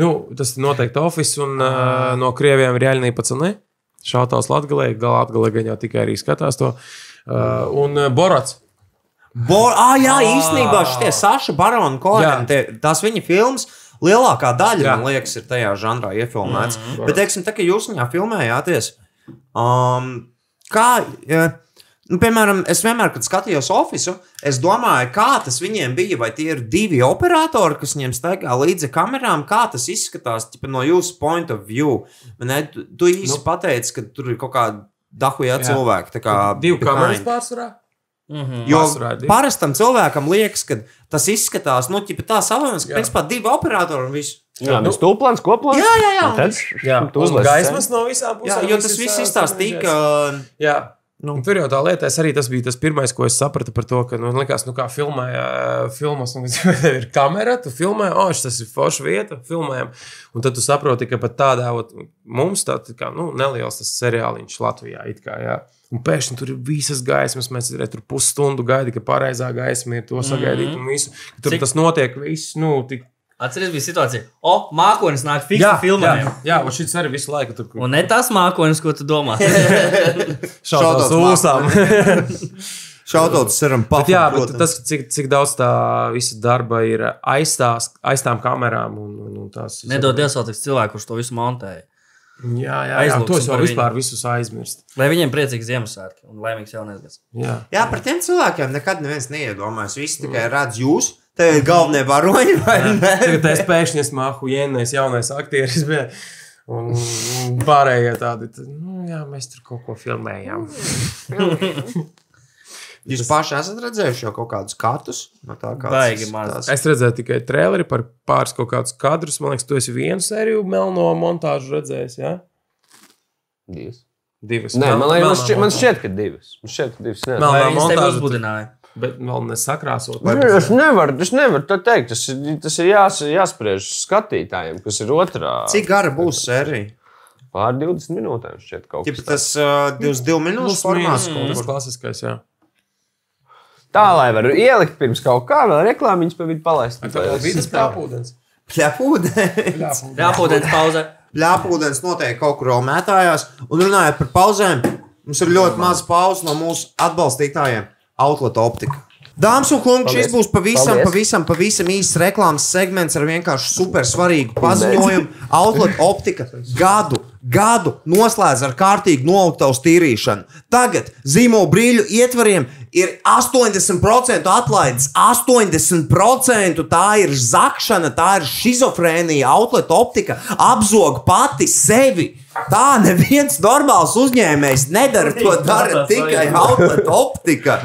Speaker 4: Nu, tas ir noteikti oficiāls un uh, no krieviem ir jāļņa pacēlē. Šautās Latvijā, galā Latvijā gan jau tikai arī skatās to. Uh, un uh, Borats.
Speaker 3: Bo ah, jā, īstenībā šitie Saša Barona
Speaker 4: Jā.
Speaker 3: Koena, tie- tās viņa filmas. Lielākā daļa,
Speaker 4: Jā. Mhm.
Speaker 3: jā. man liekas, ir tajā žanrā iefilmēts. Mm -hmm. Bet, teiksim, tā kā jūs viņā filmējāties, um, kā, ja, nu, piemēram, es vienmēr, kad skatījos oficiālu, es domāju, kā tas viņiem bija, vai tie ir divi operatori, kas viņiem staigā līdzi kamerām, kā tas izskatās tipa, no jūsu point of view. Vai Ne, tu tu īsi nu. pateici, ka tur ir kaut kāda dahujā
Speaker 4: Jā.
Speaker 3: cilvēka. tā kā
Speaker 4: Divu kameras
Speaker 3: behind.
Speaker 4: pārsvarā.
Speaker 3: Jo
Speaker 4: Pārsvarā divi.
Speaker 3: parastam cilvēkam liekas, ka tas izskatās nu, ķipa, tā savādāk, ka principā divi operatori un viss.
Speaker 5: Jā, nu stūplāns, koplāns.
Speaker 3: Jā, jā, jā.
Speaker 5: Un Tad
Speaker 4: Jā,
Speaker 5: tu
Speaker 4: un
Speaker 5: uzliec
Speaker 4: gaismas no visām
Speaker 3: Jā,
Speaker 4: pusēm.
Speaker 3: jo tas viss izstāstīja, ka
Speaker 4: Jā.
Speaker 3: Nu.
Speaker 4: Nu. Tur jau tā lieta, es arī tas bija tas pirmais, ko es sapratu par to, ka, nu, likās, nu, kā filmēja filmas, un tev ir kamera, tu filmē, oh, tas ir forša vieta, filmējam. Un tad tu saproti, ka pat tādā ot, mums tā, tā kā, nu, neliels tas seriāliņš Latvijā it kā, jā. Un pēkšņi tur ir visas gaismas, mēs re, tur pusstundu gaidi, ka pareizā gaisma ir to sagaidīt mm -hmm. un visu. ka Tur
Speaker 6: Cik-
Speaker 4: Cik? tas notiek viss, nu, tik.
Speaker 6: Atcerieties, bija situācija. O, mākonis nāk fiksu
Speaker 4: jā,
Speaker 6: filmēm.
Speaker 4: jā, un šis arī visu laiku tur
Speaker 6: Un ne tas mākonis, ko tu domā.
Speaker 4: šautās
Speaker 3: šautavs
Speaker 4: ūsām.
Speaker 3: šautauts seram
Speaker 4: Bet jā, bet
Speaker 3: papildinājums.
Speaker 4: tas, cik, cik daudz tā visa darba ir aizstās, aiz tām kamerām un, un, un tās.
Speaker 6: Nedod Dievs, vēl tiks cilvēku, kurš to visu montēja.
Speaker 4: Jā, jā, jā
Speaker 6: Aizlūksim
Speaker 4: to es jau
Speaker 6: par viņu.
Speaker 4: vispār visus aizmirst.
Speaker 6: Lai viņiem priecīgs Ziemassvētki un laimīgs jaunais gads.
Speaker 4: Jā.
Speaker 3: Jā, par tiem cilvēkiem nekad neviens neiedomājas. Visi tikai redz jūs. Te ir galvenie varoņi, vai ne?
Speaker 4: Tagad es pēkšņi esmu ahujienais jaunais aktieris. Bet... Un un pārējie tādi, tad, nu, jā, mēs tur kaut ko filmējām.
Speaker 3: Jūs paši esat redzējuši jau kaut kādus katus. No tā kā
Speaker 6: Baigi maz.
Speaker 4: Es redzēju tikai traileri par pāris kaut kādus kadrus. Man liekas, tu esi vienu sēriju melno montāžu redzējis. Ja?
Speaker 5: Divas.
Speaker 4: Divas.
Speaker 5: Nē,
Speaker 4: Mel-
Speaker 5: man
Speaker 4: melnā
Speaker 5: liekas, man šķiet- man
Speaker 4: montāža.
Speaker 5: šķiet, ka divas. Man šķiet, ka divas.
Speaker 4: Melnā
Speaker 5: Nē.
Speaker 6: Vai viņas tevi
Speaker 4: montāža,
Speaker 6: uzbudināja?
Speaker 4: Bet vēl nesakrāsot.
Speaker 5: Nē, Es nevaru, es nevaru tā teikt. Tas ir, tas ir jās, jāspriež skatītājiem, kas ir otrā.
Speaker 3: Cik gara būs sērija?
Speaker 5: Pār 20 minūtēm šķiet kaut
Speaker 3: Tipa
Speaker 5: kas.
Speaker 3: tas uh, 22 minūtes formāts. kaut
Speaker 4: Tas
Speaker 3: kur.
Speaker 4: klasiskais, jā.
Speaker 5: Tā, lai varu ielikt pirms kaut kā vēl reklāmiņas pa vidu palaist.
Speaker 4: vidas pārpūdenes.
Speaker 3: Pļapūdē.
Speaker 6: Jāpūtens pauze.
Speaker 3: Ļāpūdens noteikti kaut kur romētājās. Un runājot par pauzēm, mums ir ļoti maz pauzes no mūsu atbalstītājiem Outlet Optika. Dāmas un kungi, šis būs pavisam,
Speaker 5: Paldies.
Speaker 3: pavisam, pavisam īsts reklāmas segments ar vienkārši super svarīgu paziņojumu. Outlet Optika gadu, gadu noslēdz ar kārtīgu noaugtavu tīrīšanu. Tagad zīmola brīļu ietvariem ir 80% atlaides. 80% tā ir zakšana, tā ir schizofrēnija, outlet optika, apzog pati sevi. Tā neviens normāls uzņēmējs nedara to, dara tikai outlet optika.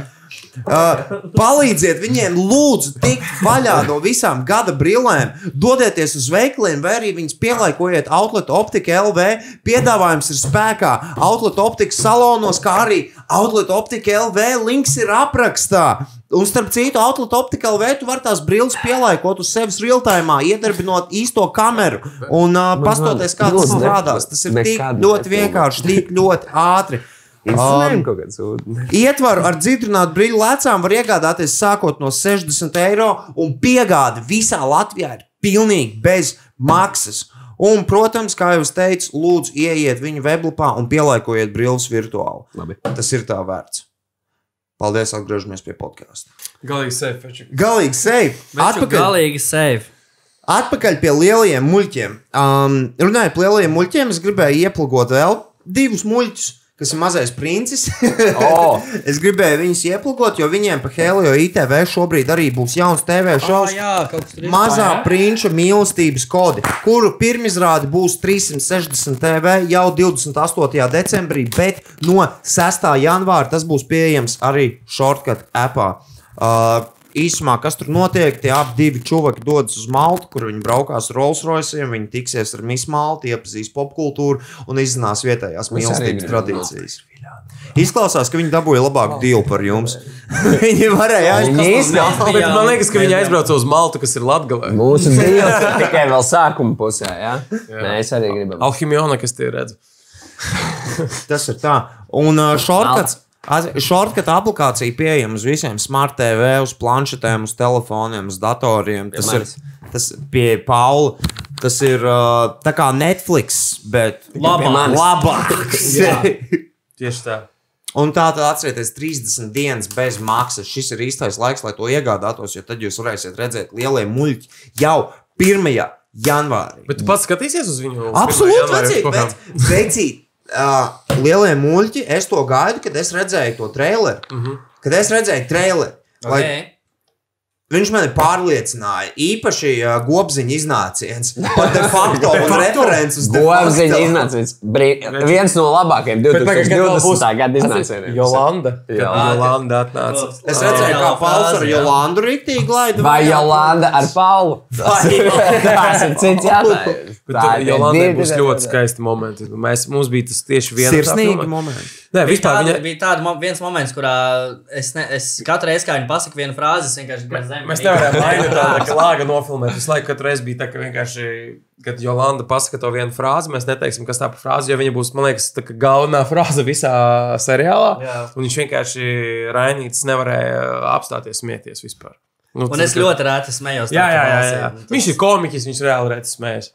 Speaker 3: Uh, palīdziet viņiem, lūdzu, tikt vaļā no visām gada brillēm. Dodieties uz veikaliem, vai arī viņas pielāgojiet Outlet Optika LV. Piedāvājums ir spēkā Outlet Optikas salonos, kā arī Outlet Optika LV. Links ir aprakstā. Un starp citu, Outlet Optika LV tu vari tās brilles pielāgot uz sevis real-time, iedarbinot īsto kameru un uh, pastoties, kā tas
Speaker 5: ļoti
Speaker 3: strādās. Tas ir tik
Speaker 5: nekad
Speaker 3: ļoti
Speaker 5: nepilnot.
Speaker 3: vienkārši, tik ļoti ātri. Uh,
Speaker 5: Instagram kaut kāds sūdzības.
Speaker 3: Ietvaru ar dzirdinātu brīļu lēcām var iegādāties sākot no 60 eiro, un piegāde visā Latvijā ir pilnīgi bez maksas. Un, protams, kā jau es teicu, lūdzu, ieiet viņu weblapā un pielāgojiet brilles virtuāli.
Speaker 5: Labi.
Speaker 3: Tas ir tā vērts. Paldies, atgriežamies pie podkāstiem.
Speaker 4: Galīgi sevi.
Speaker 3: Galīgi, seif!
Speaker 6: Atpakaļ. Galīgi safe.
Speaker 3: Atpakaļ pie lielajiem muļķiem. Um, runājot par lielajiem muļķiem, es gribēju ieplūgt vēl divus muļķus, kas ir mazais princis.
Speaker 5: O!
Speaker 3: es gribēju viņus ieplūgt, jo viņiem pa Helio ITV šobrīd arī būs jauns TV
Speaker 6: Oh,
Speaker 3: šovs.
Speaker 6: jā, kaut kas tur ir.
Speaker 3: Mazā prinča mīlestības kodi, kuru pirmizrāde būs 360 TV jau 28. decembrī, bet no 6. janvāra tas būs pieejams arī shortcut appā. Uh, Īsumā, kas tur notiek, tie abi divi čūvaki dodas uz Maltu, kur viņi braukās ar Rolls Royce, viņi tiksies ar Miss Maltu, iepazīstīs popkultūru un izzinās vietējās
Speaker 5: arī
Speaker 3: mīlestības
Speaker 5: gribam
Speaker 3: tradīcijas. Izklausās, ka viņi dabūja labāku dīlu par jums. viņi varēja aizsākt.
Speaker 6: Maltu,
Speaker 4: Bet nu,
Speaker 6: jā.
Speaker 4: man liekas, ka viņi
Speaker 6: Jā.
Speaker 4: aizbrauca uz Maltu, kas ir Latvijā.
Speaker 5: Mūsu dzīves ir tikai vēl sākuma pusē. Ja? Nē, es arī gribu.
Speaker 4: Alhimiona, kas tie redz.
Speaker 3: Tas ir tā. Un uh, šortkats. Šortkata aplikācija pieejama uz visiem smart TV, uz planšetēm, uz telefoniem, uz datoriem. Tas ir tas pie Paula. Tas ir uh, tā kā Netflix, bet
Speaker 6: Labāk.
Speaker 3: labāks.
Speaker 4: Tieši tā.
Speaker 3: Un tā tad atcerieties, 30 dienas bez maksas. Šis ir īstais laiks, lai to iegādātos, jo tad jūs varēsiet redzēt lielie muļķi jau 1. janvārī.
Speaker 4: Bet tu pats skatīsies uz viņu?
Speaker 3: Absolūti,
Speaker 4: Pirmā janvāra uz
Speaker 3: vecīt,
Speaker 4: kokām?
Speaker 3: bet, vecīt, uh, lielie muļķi, es to gaidu, kad es redzēju to traileru. Mm
Speaker 5: Mhm.
Speaker 3: -hmm. Kad es redzēju traileru. Lai,
Speaker 6: Nē.
Speaker 3: Viņš mani pārliecināja, īpaši uh, gobziņa iznāciens par de facto un referenci uz de
Speaker 5: Govziņa
Speaker 3: facto.
Speaker 5: iznāca viens- brī- viens no labākajiem 2020. gada iznācējiem.
Speaker 4: Jolanda. Jā,
Speaker 5: Jā.
Speaker 4: Jolanda atnāca.
Speaker 3: Es redzēju, kā
Speaker 6: Jā,
Speaker 3: Pauls ar
Speaker 6: frāzi, jā.
Speaker 3: Jolandu rītīgi laidu.
Speaker 5: Vai Jolanda ar Paulu? Tas ir tas ir cits jautājums.
Speaker 4: Bet tur
Speaker 5: ir
Speaker 4: Jolandai
Speaker 5: divi-
Speaker 4: būs ļoti skaisti momenti. Mēs, mums bija tas tieši viens
Speaker 3: Sirsnīgi momenti.
Speaker 4: Nē, vispār
Speaker 6: Tāda,
Speaker 4: viņa.
Speaker 6: viņa... Bija tāds mo viens moments, kurā es, ne, es katru reizi, kad viņi pasaka vienu frāzi, es vienkārši gribēju zemi.
Speaker 4: Mēs nevaram mainīt tādu kā lāga nofilmēt. Visu laiku, kad reiz bija tā, ka vienkārši, kad Jolanda pasaka to vienu frāzi, mēs neteiksim, kas tā par frāzi, jo viņa būs, man liekas, tā kā galvenā frāze visā seriālā.
Speaker 6: Jā.
Speaker 4: Un viņš vienkārši Rainīts nevarēja apstāties smieties vispār. Nu,
Speaker 6: Un es ļoti rēti smējos.
Speaker 4: Jā, jā, jā.
Speaker 6: tādā
Speaker 4: jā.
Speaker 6: balsī.
Speaker 4: Viņš ir komiķis, viņš reāli redz smējas.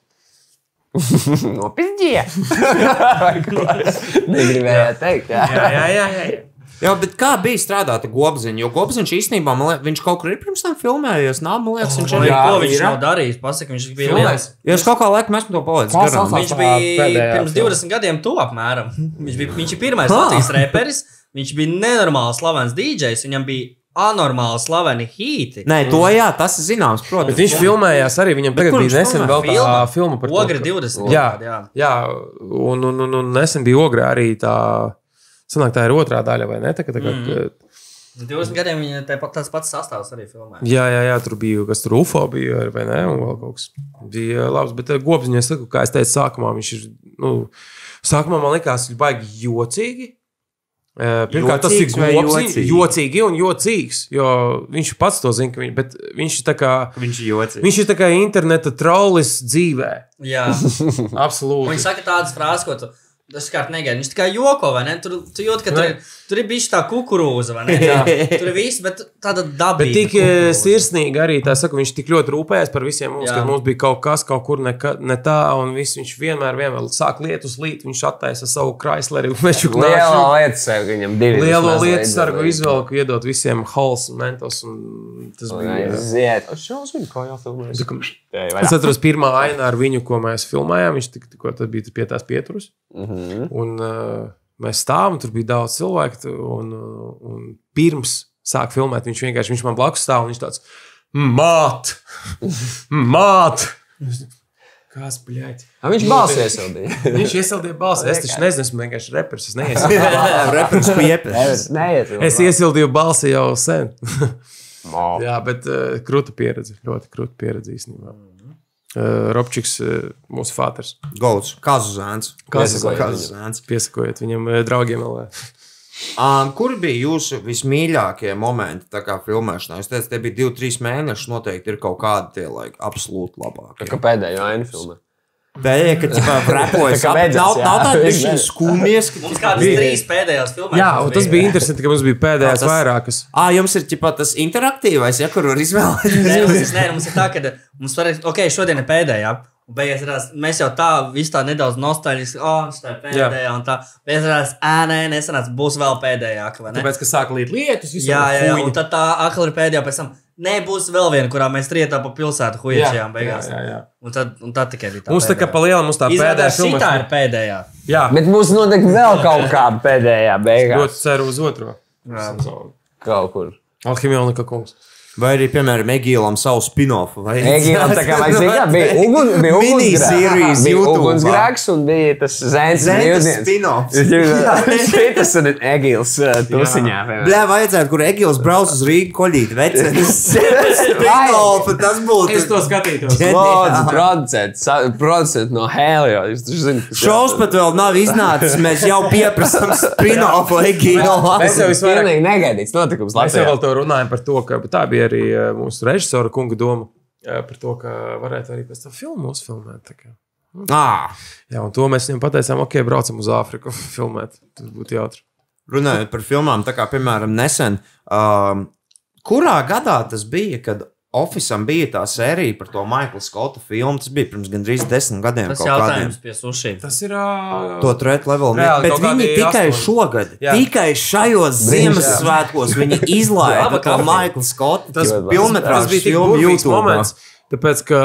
Speaker 5: Negribēju teikt, jā.
Speaker 4: Jā, jā, jā. jā, jā.
Speaker 3: Jā, bet kā bija strādāt ar gobziņu? Jo gobziņš īstenībā, man liekas, viņš kaut kur ir pirms tam filmējies, nav, man liekas, viņš
Speaker 6: Man
Speaker 3: arī.
Speaker 5: jā.
Speaker 6: liekas, Oh, Ko viņš
Speaker 5: ir.
Speaker 6: nav darījis? Pasaka, viņš bija
Speaker 5: Filmēs?
Speaker 6: liels.
Speaker 3: Jo es kaut kā laikam esmu to palaidis
Speaker 5: Kas
Speaker 3: garām.
Speaker 5: tas
Speaker 6: Viņš
Speaker 5: Tā
Speaker 6: bija
Speaker 5: pēdējā
Speaker 6: pirms
Speaker 5: filma.
Speaker 6: 20 gadiem, to apmēram. Viņš, bija, viņš ir pirmais Latvijas reperis, viņš bija nenormāli slavens DJs, viņam bija anormāli slaveni hīti.
Speaker 3: Nē, to jā, tas ir zināms, protams.
Speaker 4: Bet viņš filmējās arī, viņam tagad
Speaker 3: kur viņš
Speaker 4: bija nesen
Speaker 3: filmē?
Speaker 4: vēl tā filma par to,
Speaker 6: Ogri
Speaker 4: ka-
Speaker 6: 20.
Speaker 4: Jā,
Speaker 6: kaut kāda,
Speaker 4: jā.
Speaker 6: jā.
Speaker 4: jā un, un, un, un nesen bija ogra arī tā. Sanāk, tā ir otrā daļa, vai ne? Tā, kā- tā, kā, mm.
Speaker 6: 20 gadiem viņa tāpat tāds pats sastāvs arī filmē.
Speaker 4: Jā, jā, jā, tur bija kas tur UFO bija, vai ne? Un vēl kaut kas bija labs. Bet gobziņā, es saku, kā es teicu, sākumā viņš ir. Nu, sākumā man likās, ka baigi jocīgi. Eh, Pirmkārt, tas ir
Speaker 3: Jocīgs vai
Speaker 4: gobziņš,
Speaker 3: jocīgi?
Speaker 4: jocīgi un jocīgs. Jo viņš pats to zina, ka viņš, bet viņš ir tā kā.
Speaker 3: Viņš ir jocīgs.
Speaker 4: Viņš ir tā kā interneta trollis dzīvē.
Speaker 6: Jā. Un
Speaker 4: Absolūti.
Speaker 6: Viņi saka tādas frāzes, ko tu dažkārt negaidi. Viņš tikai joko, vai ne? Tur, tu jūti, ka tur, ir- tur ir bijusi tā kukurūza, vai ne? tur ir viss, bet tāda daba.
Speaker 4: Bet tik eh, sirsnīgi arī tā saka, viņš tik ļoti rūpējās par visiem mums,
Speaker 6: Jā.
Speaker 4: ka mums bija kaut kas, kaut kur neka, ne tā, un viss, viņš vienmēr, vienmēr sāk lietu uz lietu, viņš attaisa savu kraisleru, meču
Speaker 5: Lielā
Speaker 4: klāšu.
Speaker 5: lietu sargu viņam divi.
Speaker 4: Lielo
Speaker 5: vismaz
Speaker 4: lietu
Speaker 5: līdz-
Speaker 4: sargu izvēlku iedot visiem Halls un Mentos, un tas bija.
Speaker 5: Aiziet. Uz šo zinu, kā jau filmēs.
Speaker 4: Tā kā- Es atceros, pirmā aina ar viņu, ko mēs filmējām, viņš tik, tikko tad bija pie tās pieturas. Un uh, mēs stāvam, tur bija daudz cilvēku. tu- Un, uh, un pirms sāk filmēt, viņš vienkārši viņš man blakus stāv un viņš tāds - māt! Māt! Kas, bļaļ?
Speaker 5: A, Viņš balsīja SLD.
Speaker 4: Viņš iesildīja balsi. Es taču nezinu, es vienkārši reperis. Es neiesildīju balsi.
Speaker 3: Reprezentants piepildījis.
Speaker 5: Nē,
Speaker 4: Es iesildīju balsi jau sen. Jā, bet uh, krūta pieredze. Ļoti krūta pieredze īstenībā. Uh, Robčiks, uh, mūsu fāters.
Speaker 3: Gauts, Kazuzāns.
Speaker 5: Kazuzāns.
Speaker 3: Kazuzāns.
Speaker 4: Piesakojiet viņam uh, draugiem LV.
Speaker 3: Um, kur bija jūsu vismīļākie momenti tā kā filmēšanā? Jūs teicāt, te bija 2-3 mēneši. Noteikti ir kaut kādi tie like, absolūti labākie.
Speaker 5: Kā pēdējo ainu filmu.
Speaker 3: Pēdējā, kad jau repojas,
Speaker 5: Tā kā
Speaker 3: apgājās.
Speaker 5: medus,
Speaker 3: Nav,
Speaker 5: jā.
Speaker 3: nav tāda
Speaker 5: Viņš
Speaker 3: bišķiņa
Speaker 5: medus.
Speaker 3: skumjas, ka
Speaker 6: Mums kādas
Speaker 3: bija-
Speaker 6: trīs pēdējās filmās.
Speaker 4: Jā, un tas bija interesanti, ka mums bija pēdējās
Speaker 3: tas-
Speaker 4: vairākas.
Speaker 3: Ā, jums ir ķipā, tas interaktīvais, ja kur var
Speaker 6: Nē,
Speaker 3: izvēlēties.
Speaker 6: mums, nē, mums ir tā, ka mums var teikt, ok, šodien ir pēdējā. Un Beigās rādās, mēs jau tā, visu tā nedaudz nostāļiski, oh, tā ir pēdējā, un tā. Beigās rādās, ā, nē, nesanāca, būs vēl pēdējā, ka, vai ne?
Speaker 4: Tāpēc, ka sāk līt lietus,
Speaker 6: Jā, jā, jā, un tad tā akla ir pēdējā, pēc tam nebūs vēl viena, kurā mēs rietā pa pilsētu huīšajām beigās.
Speaker 4: jā, jā.
Speaker 6: Un tad, un tad tikai bija tā.
Speaker 4: Mums tā kā
Speaker 6: pēdējā.
Speaker 4: palielina, mums tā pēdējā
Speaker 6: Izrādās, šī
Speaker 4: filma.
Speaker 6: tā ir pēdējā.
Speaker 4: Jā,
Speaker 5: Bet mums noteikti vēl kaut kāda pēdējā beigās.
Speaker 4: ļoti ceru uz otro.
Speaker 5: Kaut kur.
Speaker 4: Alhimionika kungs.
Speaker 3: Vai arī, piemēram, Egīlam savu spin-offu. vai-
Speaker 5: Egīlam tā kā vajadzēja, jā, bija uguns, bija
Speaker 3: Mini-series
Speaker 5: uguns, bija
Speaker 3: YouTube.
Speaker 5: uguns grēks un bija tas zēns
Speaker 3: Zenta
Speaker 5: mūziens.
Speaker 3: spin-offs.
Speaker 5: Šitas un Egīls eh, tusiņā. piemēram.
Speaker 3: Blē, vajadzētu, kur Egīls brauc uz Rīgu koļīt vecenes. Spin-offu, tas
Speaker 4: Es
Speaker 3: būtu.
Speaker 4: to skatītos.
Speaker 5: Lodzi, producents, sa- producents no Helio. Jūs taču zināt, kas
Speaker 3: Šaus pat vēl nav iznācis, mēs jau pieprasām spin-offu
Speaker 4: Mēs
Speaker 3: Egīlam.
Speaker 4: jau
Speaker 5: Tas ir
Speaker 4: visvairāk
Speaker 5: pilnīgi negaidīts notikums.
Speaker 4: Mēs jau
Speaker 5: Latvijā.
Speaker 4: vēl to runājam par to, ka tā bija arī eh, mūsu režisora kunga doma eh, par to, ka varētu arī pēc tam filmu uzfilmēt. tā kā.
Speaker 3: Ā,
Speaker 4: Jā, un to mēs viņam pateicām, ok, braucam uz Āfriku filmēt. Tas būtu jautri.
Speaker 3: Runājot par filmām, tā kā piemēram nesen, um, kurā gadā tas bija, kad Officam bija tā sērija par to Maikla Skotta filmu? Tas bija pirms gandrīz desmit gadiem.
Speaker 6: Tas
Speaker 3: kaut kādiem.
Speaker 6: jautājums pie sušiem.
Speaker 4: Tas ir. ā,
Speaker 3: To trešo levelu
Speaker 4: Reāli
Speaker 3: nevienu. Bet
Speaker 4: kaut kādi
Speaker 3: viņi tikai
Speaker 4: astoņi.
Speaker 3: šogad,
Speaker 4: Jā.
Speaker 3: jā. tikai šajos Ziemassvētkos viņi izlaida to Maikla Skotta. Tas
Speaker 5: Tas-
Speaker 4: Tas
Speaker 3: pilnmetrāžu
Speaker 4: bija tik
Speaker 3: filmu
Speaker 4: burvīgs
Speaker 3: YouTube.
Speaker 4: moments. Tāpēc, ka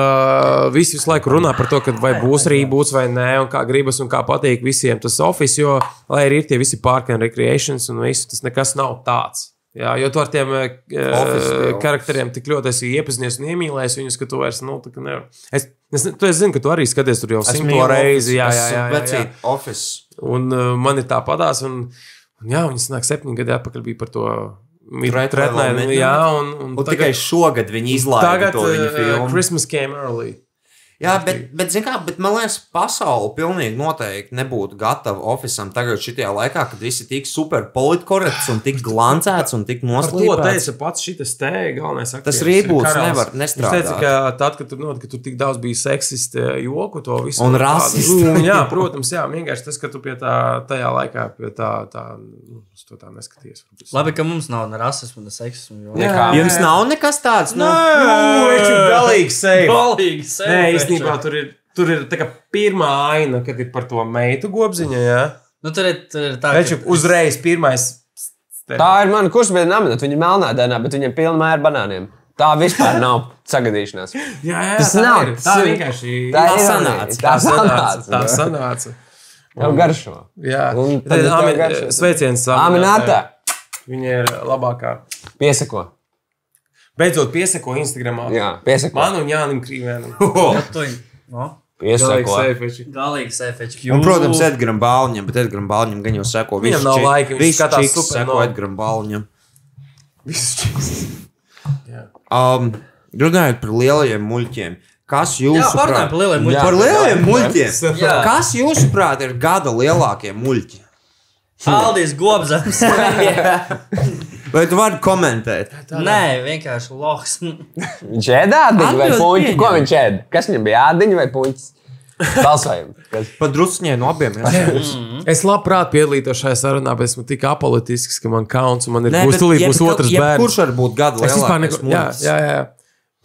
Speaker 4: visi visu laiku runā par to, ka vai būs rībūs vai nē, un kā gribas un kā patīk visiem tas oficiāls, jo lai arī ir tie visi parki un recreations un viss, tas nekas nav tāds. Jā, jo tu ar tiem eh,
Speaker 3: Office,
Speaker 4: eh,
Speaker 3: jā.
Speaker 4: karakteriem tik ļoti esi iepazinies un iemīlējies viņus, ka tu vairs nu, tā kā nevari. Es, es, ne- tu- es zinu, ka tu arī skaties tur jau simto reizi. Jā, jā, jā, jā, jā.
Speaker 3: Vecīt, Office.
Speaker 4: Un uh, man ir tā padās, un, un jā, viņi sanāk septiņi gadi atpakaļ bija par to.
Speaker 3: Threat Level
Speaker 4: Midnight,
Speaker 3: Midnight.
Speaker 4: jā, un, un,
Speaker 3: Un tikai šogad viņi izlaida
Speaker 4: Tagad
Speaker 3: to viņa
Speaker 4: uh,
Speaker 3: filmu.
Speaker 4: Christmas came early.
Speaker 3: Jā, bet, bet, zin kā, bet man liekas, pasaule pilnīgi noteikti nebūtu gatava oficiālam tagad, šajā laikā, kad viss ir tik superpolitkorekts un tik glancēts un tik
Speaker 4: Par to
Speaker 3: noslēpts.
Speaker 4: teica pats šis te galvenais aktieris.
Speaker 3: Tas reboots
Speaker 4: ir Karls.
Speaker 3: nevar
Speaker 4: Viņš
Speaker 3: nestrādāt.
Speaker 4: teica, ka tad, kad tur, no, ka tur tik daudz bija seksista joku, to visu.
Speaker 3: Un
Speaker 4: tādu-
Speaker 3: rasistu.
Speaker 4: Un, jā, protams, jā, vienkārši tas, ka tu pie tā, tajā laikā pie tā, tā, nu, uz to tā neskaties. varbūt.
Speaker 6: Labi, ka mums nav ne rasismu, ne seksismu. jo-
Speaker 4: Jā.
Speaker 3: Jums nav nekas tāds, nu,
Speaker 4: Nu, es esmu galīgi safe.
Speaker 6: Galīgi sevi
Speaker 4: Nē,
Speaker 6: taču.
Speaker 4: īstenībā tur ir, tur ir tā kā pirmā aina, kad ir par to meitu gobziņu. Jā,
Speaker 6: Nu, tur ir, tur ir tā,
Speaker 4: Veči, uzreiz pirmais.
Speaker 5: Tā ir mana kursabiedra nominēta. Viņa ir melnā dienā, bet viņa ir pilna ar banāniem. Tā vispār nav sagadīšanās.
Speaker 4: Jā, jā,
Speaker 5: Tas
Speaker 4: tā
Speaker 5: nav,
Speaker 4: ir.
Speaker 5: tas
Speaker 4: Tā
Speaker 5: ir-
Speaker 4: vienkārši
Speaker 5: Tā ir
Speaker 3: sanāca.
Speaker 5: Tā sanāca.
Speaker 4: Tā sanāca.
Speaker 5: Jau garšo.
Speaker 4: Jā,
Speaker 5: Un
Speaker 4: tā
Speaker 5: tad
Speaker 4: ir
Speaker 5: tev garšo.
Speaker 4: sveiciens.
Speaker 5: Aminēta.
Speaker 4: Viņa ir labākā.
Speaker 5: Piesako.
Speaker 4: Beidzot, piesako Instagram.
Speaker 5: Jā, piesako.
Speaker 4: Man un Jānis Krīvēnam.
Speaker 6: tuņi. No?
Speaker 5: Piesako.
Speaker 6: Galīgi sevi.
Speaker 3: Un, Nu, protams, Edgars Balniņš, bet Edgars Balniņš gan jau seko
Speaker 4: Nu. Viņam nav laika, viņš
Speaker 3: Viņš
Speaker 4: skatās
Speaker 3: skatās super
Speaker 4: Supernovu.
Speaker 3: seko Edgars Balniņš. Um, runājot par lielajiem muļķiem, kas
Speaker 6: Jā, parunājam
Speaker 3: jūsuprāt
Speaker 6: par lieliem
Speaker 5: Jā.
Speaker 6: muļķiem.
Speaker 3: Par lielajiem muļķiem!
Speaker 6: Jā.
Speaker 3: Kas jūsuprāt ir gada lielākie muļķi?
Speaker 6: Aldis Gobzams.
Speaker 3: Vai tu vari komentēt?
Speaker 6: Nē, vienkārši lohs.
Speaker 5: Viņš ēda ādiņu vai
Speaker 3: Atbildi
Speaker 5: puņķi? Ko
Speaker 3: pieņem.
Speaker 5: viņš ēda? Kas viņam bija ādiņa vai puņķis? Balsojam. Kas-
Speaker 3: Padrusciņai no abiem.
Speaker 4: Hm? Es labprāt piedalītos šajā sarunā, bet esmu tik apolitisks, ka man kauns un man ir būs tūlīt būs otrs bērns.
Speaker 3: Kurš var būt gada
Speaker 4: Es vispār
Speaker 3: lielākais?
Speaker 4: neko. Jā, jā, jā. jā.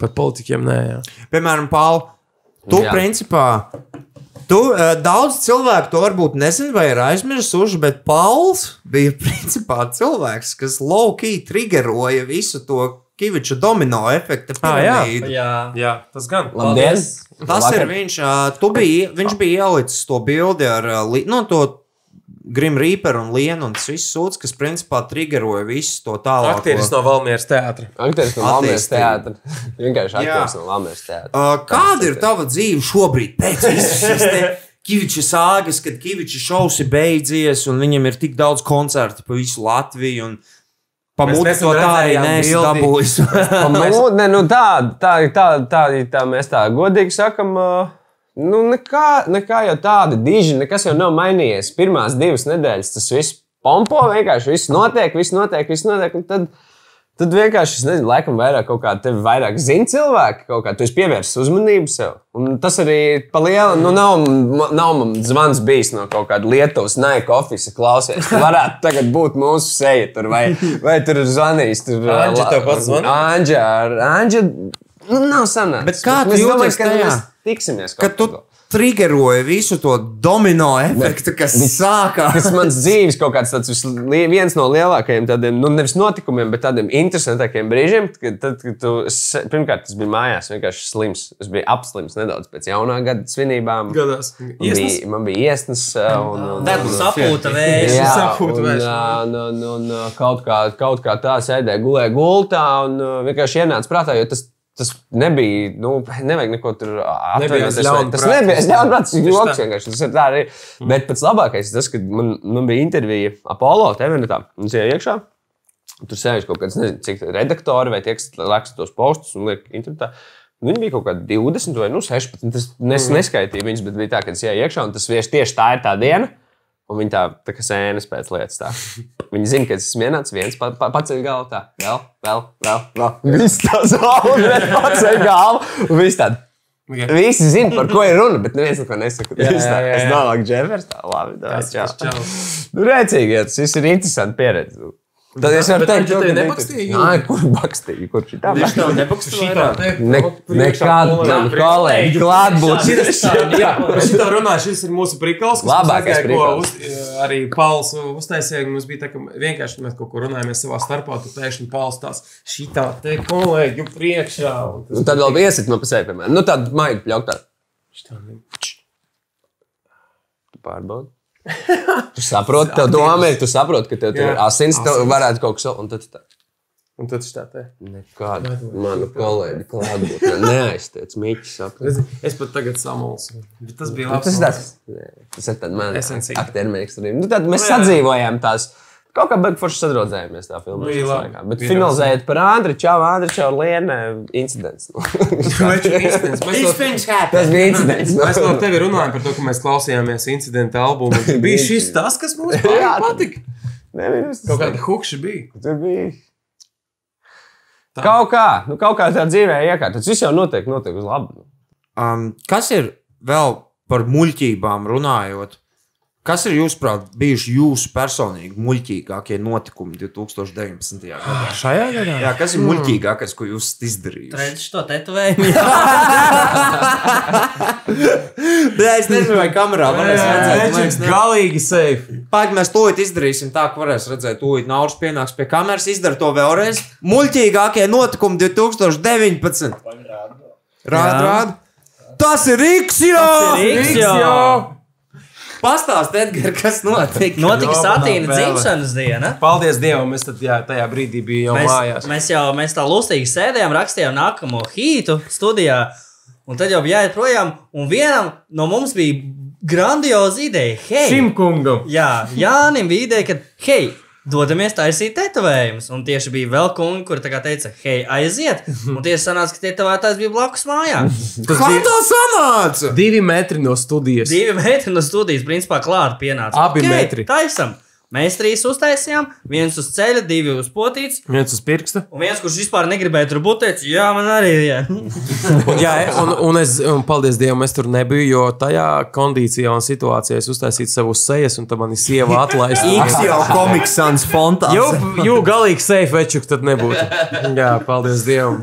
Speaker 4: Par politikiem nē. Jā.
Speaker 3: Piemēram, Pāvils. Tu,
Speaker 5: Jā.
Speaker 3: jā. principā, tu, uh, daudz cilvēku to varbūt nezina vai ir aizmirsuši, bet Pāvils bija principā cilvēks, kas laukī triggeroja visu to Kaviča domino efekta
Speaker 4: Ā, Ah, jā.
Speaker 3: piramīdu.
Speaker 6: Jā.
Speaker 4: jā, tas gan.
Speaker 5: Labdien!
Speaker 3: Tas eh,
Speaker 5: Labvakar.
Speaker 3: ir viņš, uh, tu biji, viņš bija ielicis to bildi ar uh, li- eh, nu, to Grim Reaper un Lienu un tas viss sūds, kas principā triggeroja visu to tālāko.
Speaker 4: Aktieris no Valmieras teātra.
Speaker 5: Aktieris no Lamijas
Speaker 3: Attīstība.
Speaker 5: teātra. Vienkārši
Speaker 3: Jā.
Speaker 5: aktieris no Lamijas teātra.
Speaker 3: Uh, Kāda ir tava dzīve šobrīd pēc visas šīs te Kiviča sāgas, kad Kiviča šovs ir beidzies un viņam ir tik daudz koncertu pa visu Latviju? un Pa
Speaker 4: Mēs
Speaker 3: muti
Speaker 4: nesen
Speaker 3: to tā arī
Speaker 4: redzējām
Speaker 3: neesi
Speaker 4: bildi.
Speaker 3: dabūjis.
Speaker 5: Nu, ne, nu tā, tā, tā, tā, tā mēs tā godīgi sakam. ā, Nu, nekā, nekā jau tāda diži, nekas jau nav mainījies. Pirmās divas nedēļas tas viss pompo, vienkārši viss notiek, viss notiek, viss notiek. un Tad, tad vienkārši, es nezinu, laikam vairāk kaut kā tevi vairāk zina cilvēki, kaut kā tu esi pievērsis uzmanību sev. Un tas arī pa lielu, nu, nav, ma- nav man zvans bijis no kaut kāda Lietuvas naika ofisa klausies. Tu varētu tagad būt mūsu seja tur vai, vai tur zvanīs. Tur,
Speaker 4: Anģa
Speaker 5: la-
Speaker 4: tev pats zvanīja?
Speaker 5: Anģa, ar Anģa, nu, nav sanācis.
Speaker 3: Bet kā tu
Speaker 5: es
Speaker 3: jūties tajā?
Speaker 5: mēs tiksimies?
Speaker 3: Kad tu triggeroji visu to domino efektu, kas sākās.
Speaker 5: Tas mans dzīves kaut kāds tāds visli- viens no lielākajiem tādiem, nu, nevis notikumiem, bet tādiem interesantākiem brīžiem. Kad, tad, kad tu, se- pirmkārt, tas bija mājās, vienkārši slims. Es biju apslims nedaudz pēc jaunā gada svinībām.
Speaker 4: Gadās.
Speaker 5: Man bija, man bija iesnas. uh, Un, un,
Speaker 6: Debes sapūta
Speaker 4: Es
Speaker 6: vējš.
Speaker 5: Jā,
Speaker 4: saprotu,
Speaker 5: un,
Speaker 4: vairs ne.
Speaker 5: ā, nu, nu, nu, kaut, kā, kaut kā tā sēdēja, gulēja gultā un ā, vienkārši ienāca prātā, jo tas, tas nebija. Nu, nevajag neko tur
Speaker 4: Nebija
Speaker 5: atvainoties.
Speaker 4: es
Speaker 5: vai- Tas
Speaker 4: ļaunprātīgs.
Speaker 5: nebija es ļaunprātīgs. Tas
Speaker 4: Tieši
Speaker 5: bija joks
Speaker 4: tā. Mm.
Speaker 5: vienkārši. Tas ir tā arī. Bet pats labākais ir tas, kad man, man bija intervija Apollo TV-nā. Un es ienāku iekšā. Tur sēž kaut kāds, nezinu, cik redaktori vai tie, kas raksta tos postus un liek internetā. Nu, Viņi bija kaut kādi 20 vai nu, 16. Es nes,
Speaker 4: Mm.
Speaker 5: neskaitīju viņus, bet bija tā, ka es ienāku iekšā un tas vieši tieši tā ir tā diena. Un viņi tā, tā kā sēnes pēc lietas. Tā. Viņi zina, ka es esmu ienācis viens pa, pa, pats ar galvu. Tā, vēl, vēl, vēl. vēl. Viss tā zāle, pats ar galvu. Un viss tā. Visi zina, par ko ir runa, bet neviens neko nesaka.
Speaker 4: Jā,
Speaker 5: Viss tā,
Speaker 4: jā, jā,
Speaker 5: Es
Speaker 4: jā.
Speaker 5: domāju, ka Džefers tā labi.
Speaker 4: Tas
Speaker 5: dāvās,
Speaker 4: tas
Speaker 5: čau.
Speaker 4: čau.
Speaker 5: Nu, rēcīgi, jā, tas viss ir interesanti pieredze. Tad es varu
Speaker 4: Bet
Speaker 5: teikt,
Speaker 4: Anģa tevi
Speaker 5: ka
Speaker 4: nepakstīja,
Speaker 5: Nē, kur bakstīja? Kur šī tā?
Speaker 4: Viņš tev nepakstīs
Speaker 5: Ne,
Speaker 4: Nu,
Speaker 5: nekādu tam kolēģi klātbūtni.
Speaker 4: Jā, par šito runāju, šis ir mūsu prikals.
Speaker 5: Labākais prikals.
Speaker 4: Uz, arī Pauls uztaisīja, ka mums bija tā, ka vienkārši mēs kaut ko runājamies savā starpā, tu pēkšņi Pauls tās šitā te kolēģu priekšā. un tas-
Speaker 5: Un tad vēl iesit man pasēja, piemēram. Nu, tāda maigi pļautā.
Speaker 4: šitā ne-
Speaker 5: Pārbaudi. Tu saproti, tev doma ir, tu saproti, ka tev tur
Speaker 4: Jā.
Speaker 5: ir asins, tev varētu kaut kas, un tad tu tā.
Speaker 4: Un tad šitā te.
Speaker 5: Nekādu manu kolēģi klātbūtni. Neaiztiec, mīķi, saproti.
Speaker 4: Redzi, Es pat tagad samulsu. Bet tas bija
Speaker 5: Nu,
Speaker 4: labi.
Speaker 5: Tas, tas, tas ir tāds mans
Speaker 4: Esencīte.
Speaker 5: aktiermēks. Nu, tad mēs
Speaker 4: Nu, jā.
Speaker 5: sadzīvojām tās. Kaut kā beigās forši sadraudzējāmies tā filmā.
Speaker 4: Bija labi.
Speaker 5: Bet
Speaker 4: Bija
Speaker 5: finalizējot par Andriu, Čau, Andriu, Čau, Lienu, incidents.
Speaker 4: Mēs to-
Speaker 5: Tas bija incidents.
Speaker 4: Mēs no tevi runājam par to, ka mēs klausījāmies incidenta albumu. Tur Bija šis tas, kas mums
Speaker 5: Jā, tad-
Speaker 4: patika.
Speaker 5: Neviens.
Speaker 4: Kaut kāda hukša bija.
Speaker 5: Tur bija. Kaut kā, nu, kaut kā tā dzīvē iekārta. Tas viss jau notiek, notiek uz labu.
Speaker 3: Um, kas ir vēl par muļķībām runājot? Kas ir jūsuprāt bijuši jūsu personīgi muļķīgākie notikumi 2019. gadā?
Speaker 4: Ah, Šajā gadā? Hmm.
Speaker 3: Jā, kas ir muļķīgākais, ko jūs esat izdarījis?
Speaker 6: Redz šo tetovējumu.
Speaker 3: Jā, es nezinu, vai kamerā varēs redzēt.
Speaker 4: Tas ir galīgi safe.
Speaker 3: Pagaidām, mēs to izdarīsim tā, ka varēs redzēt, to ir naudas pienāks pie kameras. Izdara to vēlreiz. Muļķīgākie notikumi 2019. Rāda,
Speaker 6: Jā.
Speaker 3: rāda. Tas ir Rīgas jau!
Speaker 6: Rīks, jā.
Speaker 3: Pastāst, Edgars, kas notika?
Speaker 6: Notika
Speaker 4: Domā
Speaker 6: satīna
Speaker 4: vēl.
Speaker 6: dzimšanas diena.
Speaker 4: Paldies Dievam, mēs tad, jā, tajā brīdī bijām jau
Speaker 6: Mēs,
Speaker 4: mājās.
Speaker 6: mēs jau mēs tā lustīgi sēdējām, rakstījām nākamo hītu studijā. Un tad jau bija jāiet projām. Un vienam no mums bija grandioza ideja. Hei,
Speaker 4: Šim kungam.
Speaker 6: Jā, Jānis bija ideja, ka, hei, dodamies taisīt tetovējumus. Un tieši bija vēl kungi, kur tā kā teica, hei, aiziet. Un tieši sanāca, ka tetovētājs bija blakus mājā.
Speaker 3: Kā tā sanāca?
Speaker 4: Divi metri no studijas.
Speaker 6: Divi metri no studijas, principā, klāta pienāca.
Speaker 4: Abi
Speaker 6: Ok,
Speaker 4: metri.
Speaker 6: Taisam. Mēs trīs uztaisījām, viens uz ceļa, divi uz potītes.
Speaker 4: Viens uz pirksta.
Speaker 6: Un viens, kurš vispār negribēja tur būt, teica, jā, man arī ir. jā."
Speaker 4: Un, jā, un, un, es, un paldies Dievam, es tur nebiju, jo tajā kondīcijā un situācijā es uztaisīju savus sejas, un tā man ir sieva
Speaker 3: X
Speaker 4: atlaista.
Speaker 3: jau komiksāns
Speaker 4: Jū,
Speaker 3: fontāns.
Speaker 4: jū, galīgi safe večuk tad nebūtu. Jā, paldies Dievam.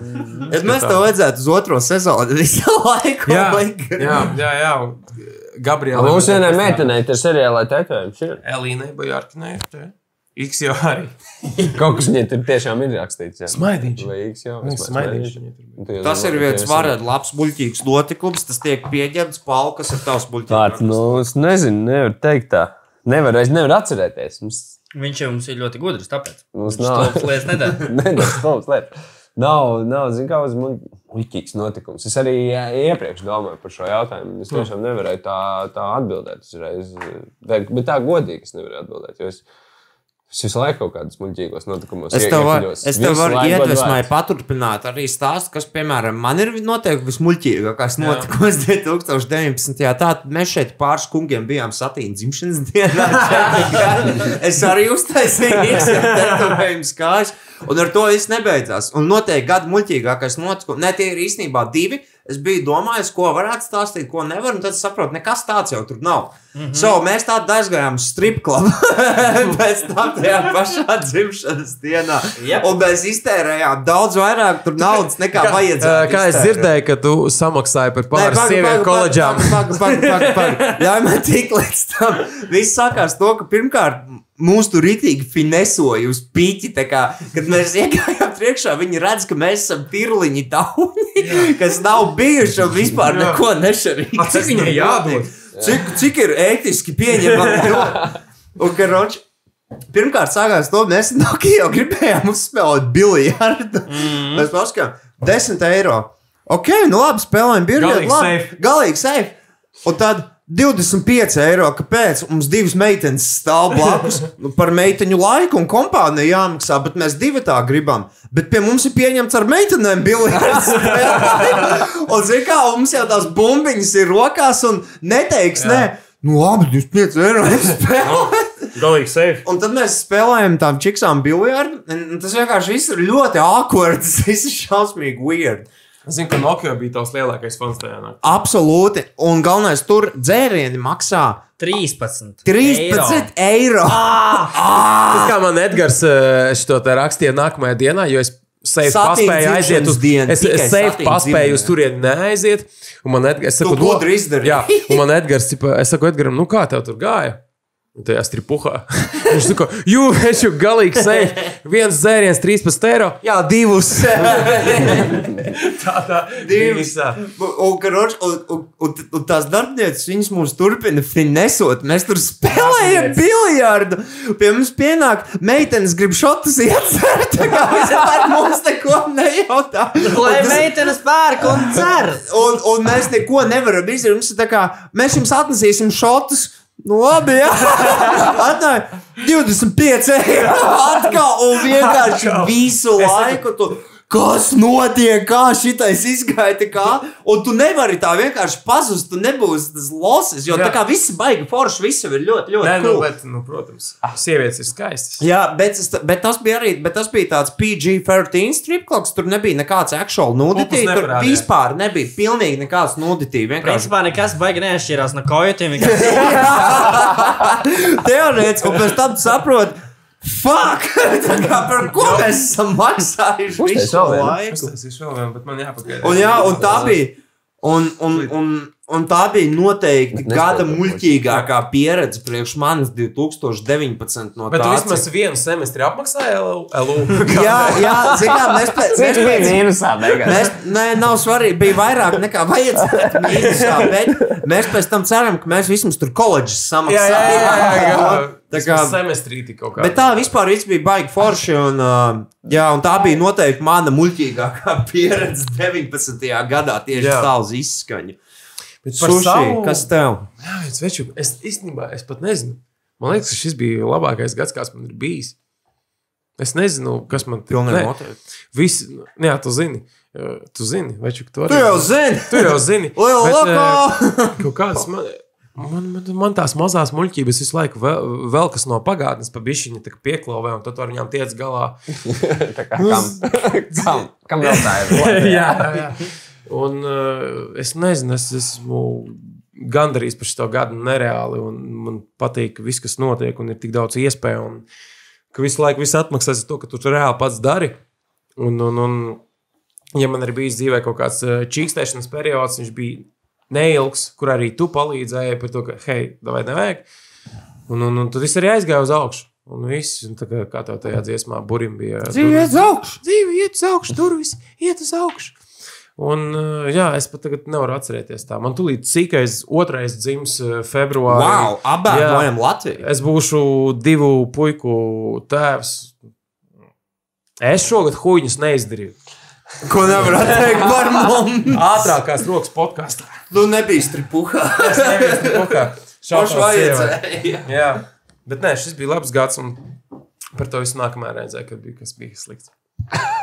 Speaker 3: Bet mēs tev redzētu uz otro sezonu visu laiku.
Speaker 4: Jā,
Speaker 3: Edgar.
Speaker 4: jā, jā. jā. Gabriela.
Speaker 5: Mums vienai meitenei tur seriālā tetovējums ir.
Speaker 4: Elīnai Bajārkinai. X jau arī.
Speaker 5: Kaut kas viņai tur tiešām ir rakstīts. jā.
Speaker 4: Smaidiņš.
Speaker 5: Vai X jau?
Speaker 4: Viņai smaidiņš viņai tur bija.
Speaker 5: Smaidiņš.
Speaker 3: Tas ir viens varētu labs muļķīgs notikums, tas tiek pieņemts. Paul, kas ir tavs
Speaker 5: Tāds,
Speaker 3: muļķīgs?
Speaker 5: nu, es nezinu, nevaru teikt tā. Nevar, es nevaru atcerēties. Mums,
Speaker 6: Viņš jau mums ir ļoti gudrs, tāpēc.
Speaker 5: mums nav
Speaker 6: Tādas lietas nedara.
Speaker 5: nedēļas stundas lietas. Nav, nav zināms, kā uz mums muļķīgs notikums. Es arī ā, iepriekš domāju par šo jautājumu. Es tiešām nevarēju tā, tā atbildēt uzreiz. Bet bet tā godīgi es nevarēju atbildēt. Jo es, es visu laiku kaut kādos muļķīgos notikumos
Speaker 3: Es
Speaker 5: ie-
Speaker 3: tev varu,
Speaker 5: iekļūstu.
Speaker 3: es tev
Speaker 5: Visu
Speaker 3: varu
Speaker 5: laiku
Speaker 3: iedvesmēt,
Speaker 5: godvārds.
Speaker 3: paturpināt arī stāstu, kas, piemēram, man ir noteikti vismuļķīgākais notikums 2019. Jā, tā mēs šeit pāris kungiem bijām satīna dzimšanas dienā. Četri. es arī uztaisīju īstenībā kājas, un ar to viss nebeidzās. Un noteikti gada muļķīgākais notikums, ne tie ir īstenībā divi. Es biju domājis, ko varētu stāstīt, ko nevaru, un tad saprotu, nekas tāds jau tur nav. Mm -hmm. So, mēs tādā aizgājām uz stripklabu pēc tam tajā pašā dzimšanas dienā.
Speaker 6: Jep.
Speaker 3: Un mēs iztērējām daudz vairāk tur naudas nekā
Speaker 4: Ā,
Speaker 3: vajadzēja.
Speaker 4: Kā es dzirdēju, ka tu samaksāji par
Speaker 3: Nē,
Speaker 4: pāris
Speaker 3: pagaidi, pagaidi,
Speaker 4: sieviešu koledžām.
Speaker 3: pagaidi, pagaidi, pagaidi, pagaidi. Ļauj man tikt līdz tam. Viss sākās to, ka pirmkārt mūsu tur rītīgi finesoja uz pīķi. tā kā, Kad mēs iegājām priekšā, viņi redz, ka mēs esam tirliņi tauni, kas nav bijuši un vispār neko nešarīgi.
Speaker 4: A, cik viņai jādod?
Speaker 3: Cik, cik ir ētiski pieņemami? Un, karoči, Pirmkārt, sākās to, mēs no Kija gribējām uzspēlēt biljardu.
Speaker 8: Mhm.
Speaker 3: Mm. Mēs paskatījām 10 eiro. Ok, nu labi, spēlējam biljardu.
Speaker 8: Galīgi
Speaker 3: labi,
Speaker 8: safe.
Speaker 3: Galīgi safe. Un tad 25 eiro, kāpēc mums divas meitenes stāv blakus Nu, par meiteņu laiku un kompāniju jāmaksā, bet mēs divi tā gribam. Bet pie mums ir pieņemts ar meitenēm biljards. un zina, kā un mums jau tās bumbiņas ir rokās un neteiks, nē, nu labi, 25 eiro. es spēlēju.
Speaker 8: Galīgi safe.
Speaker 3: Un tad mēs spēlējām tām čiksām biljardu. un- un Tas vienkārši viss ir ļoti awkward. Tas viss ir šausmīgi weird.
Speaker 8: Es zinu, ka Nokia bija tavs lielākais fans tajā naktī.
Speaker 3: Absolūti. Un galvenais tur dzērieni maksā
Speaker 6: 13.
Speaker 3: 13 eiro.
Speaker 4: Tas kā man Edgars eh, šo te rakstīja nākamajā dienā, jo es sevi
Speaker 3: Satīna
Speaker 4: paspēju aiziet uz
Speaker 3: dzimšanas diena,
Speaker 4: Es
Speaker 3: tikai
Speaker 4: sevi
Speaker 3: satīna
Speaker 4: paspēju uz
Speaker 3: dzimšanas.
Speaker 4: turieni neaiziet. Un man Edgars, es saku,
Speaker 3: Tu gudri izdarīji.
Speaker 4: Ah, Jā, un man Edgars, cipa, es saku Edgaram, nu kā tev tur gāja? Un Tajā stripuhā. Viņš saka, jū, es jau galīgi seju. Viens dzēriens, 13 eiro. Jā, divus. tā, tā, divus.
Speaker 3: Un, karoč, un, un, un, un tās darbnīcas, viņas mums turpina finesot. Mēs tur spēlējam biljardu. Pie mums pienāk meitenes, grib šotus iedzert. Tā kā vispār mums neko nejautā.
Speaker 6: Lai
Speaker 3: Un tas-
Speaker 6: meitenes pērk un cer.
Speaker 3: un, un mēs neko nevaram izdarīt. Mums ir tā kā, Mēs jums atnesīsim šotus. Nu, labi, jā. Atnāja 25 eiro. Atkal un vienkārši visu laiku. Tu, kas notiek, kā šitais izgaita, tā kā? Un tu nevari tā vienkārši pazust, tu nebūsi tas loses, jo jā. tā kā viss baigi forši, viss jau ir ļoti, ļoti.
Speaker 4: Nē, nu,
Speaker 3: cool.
Speaker 4: bet, nu, protams, sievietes ir skaistas.
Speaker 3: Jā, bet, es, bet tas bija arī bet tas bija tāds PG-13 stripklubs. Tur nebija nekāds actual nudity. Tur
Speaker 4: neparādīja.
Speaker 3: vispār nebija pilnīgi nekāds nudity. Vienkārši
Speaker 6: Principā nekas baigi neaišķirās no kojotiem. vienkārši
Speaker 3: teorētiski, un pēc tam saprot, fuck, tā kā par ko mēs esam maksājuši
Speaker 5: Uztais
Speaker 3: visu
Speaker 5: vēl vienu.
Speaker 3: laiku.
Speaker 8: Tas ir vēl viens, bet man jāpagaida.
Speaker 3: Un, jā, un tā bija. Un, un, un, un tā bija noteikti
Speaker 5: nespēju
Speaker 3: gada
Speaker 5: to
Speaker 3: muļķīgākā pieredze priekš manis 2019. No
Speaker 4: Bet tu
Speaker 3: tā
Speaker 4: vismaz vienu semestri apmaksāji LU. LU.
Speaker 3: cik- Jā, jā zinām, mēs pēc
Speaker 5: Viņš
Speaker 3: tam
Speaker 5: bija mīnusā beigās.
Speaker 3: Mēs, nē, nav svarīgi. Bija vairāk nekā vajadzēja. Mīnusā, bet mēs pēc tam ceram, ka mēs vismaz tur koledžas samaksājām.
Speaker 4: Tā kā semestrī tik kaut kā.
Speaker 3: Bet tā vispār viss bija baigi forši. Un, uh, jā, un tā bija noteikti mana muļķīgākā pieredze 19. gadā tieši
Speaker 4: Jā.
Speaker 3: tā uz izskaņu.
Speaker 4: Bet par
Speaker 3: Suši,
Speaker 4: savu-
Speaker 3: kas tev?
Speaker 4: Nē, sveču, es īstenībā es pat nezinu. Man liekas, ka šis bija labākais gads, kāds man ir bijis. Es nezinu, kas man tur
Speaker 3: Pilnīgi
Speaker 4: Visi, nu, jā, tu zini. Eh, Tu zini, vai čuk, tu arī.
Speaker 3: Tu jau zini!
Speaker 4: tu jau zini.
Speaker 3: Liela
Speaker 4: Bet,
Speaker 3: loko!
Speaker 4: eh, Kaut kādas man, man, man, man tās mazās muļķības visu laiku vēl, vēl kas no pagātnes pabišķiņa tā kā pieklauvē, un tad tu ar viņām tiec galā.
Speaker 5: Kam, kam vēl tā ir?
Speaker 4: jā, jā. Un uh, es nezinu, es esmu gandarījis par šo gadu nereāli. un Man patīk, ka viss, kas notiek, un ir tik daudz iespēju. Un ka visu laiku viss atmaksās ar to, ka tu to reāli pats dari. Un, un, un ja man ir bijis dzīvē kaut kāds eh, čīkstēšanas periods, viņš bija neilgs, kur arī tu palīdzēji par to, ka, hei, vai nevajag. Un, un, un tad viss arī aizgāja uz augšu. Un viss, un tā kā, kā tev tajā dziesmā, burim bija. Dzīve iet uz augšu! Dzīve iet uz augšu, durvis iet uz augšu! Un, eh, jā, es pat tagad nevaru atcerēties tā. Man tūlīt cīkais otrais dzims eh, februārī.
Speaker 3: Wow, abām
Speaker 4: Jā.
Speaker 3: gājām Latviju.
Speaker 4: Es būšu divu puiku tēvs. Es šogad huīņus neizdarīju.
Speaker 3: Ko nevar teikt par mums?
Speaker 4: Ātrākās rokas podkāstā.
Speaker 3: Tu Nu, nebija stripuhā. Pašu vajadzēja.
Speaker 4: Jā, bet nē, šis bija labs gads. Un... Par to visu nākamajā reizē, kad bija kas bija slikts.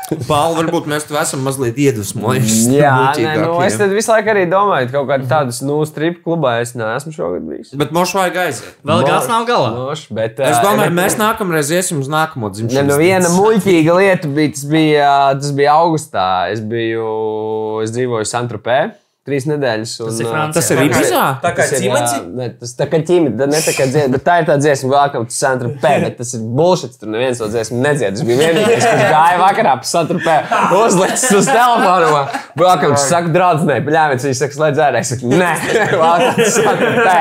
Speaker 3: Pāri, varbūt mēs tev esam mazliet iedvesmojuši.
Speaker 5: Jā, nē,
Speaker 3: Muļķīgākie.
Speaker 5: nu, es tad visu laiku arī domāju, ka kaut kāda tāda nu, strip klubā es neesmu šogad bijis.
Speaker 3: Bet mošu vajag aiziet.
Speaker 6: Vēl gāds nav galā.
Speaker 5: Noš, bet,
Speaker 3: Es
Speaker 5: ā,
Speaker 3: domāju,
Speaker 5: bet-
Speaker 3: mēs nākamreiz iesim uz nākamo
Speaker 5: Ne,
Speaker 3: dzimšanas
Speaker 5: nu viena
Speaker 3: dienu.
Speaker 5: muļķīga lieta bija, tas bija, tas bija augustā. Es, biju, es dzīvoju Santropē trīs nedēļas. Un, uh,
Speaker 6: Tas
Speaker 3: Tas ir
Speaker 6: ir Francijā.
Speaker 3: Ibizā?
Speaker 4: Tā kā cimats,
Speaker 5: ģimene. Tas tā kā ģimene, ne tā kā dziesma, bet tā ir tā dziesma, Welcome to Santropē, bet tas ir bullshit, tur neviens to dziesmu nedzied. Es biju vienīgais, kas gāja vakarā pa Santropē, uzlicis uz telefonu. man, Welcome to saka draudzenei, bļāvis, viņš saka, slēdz ārā. Es saku, nē, Welcome to Santropē.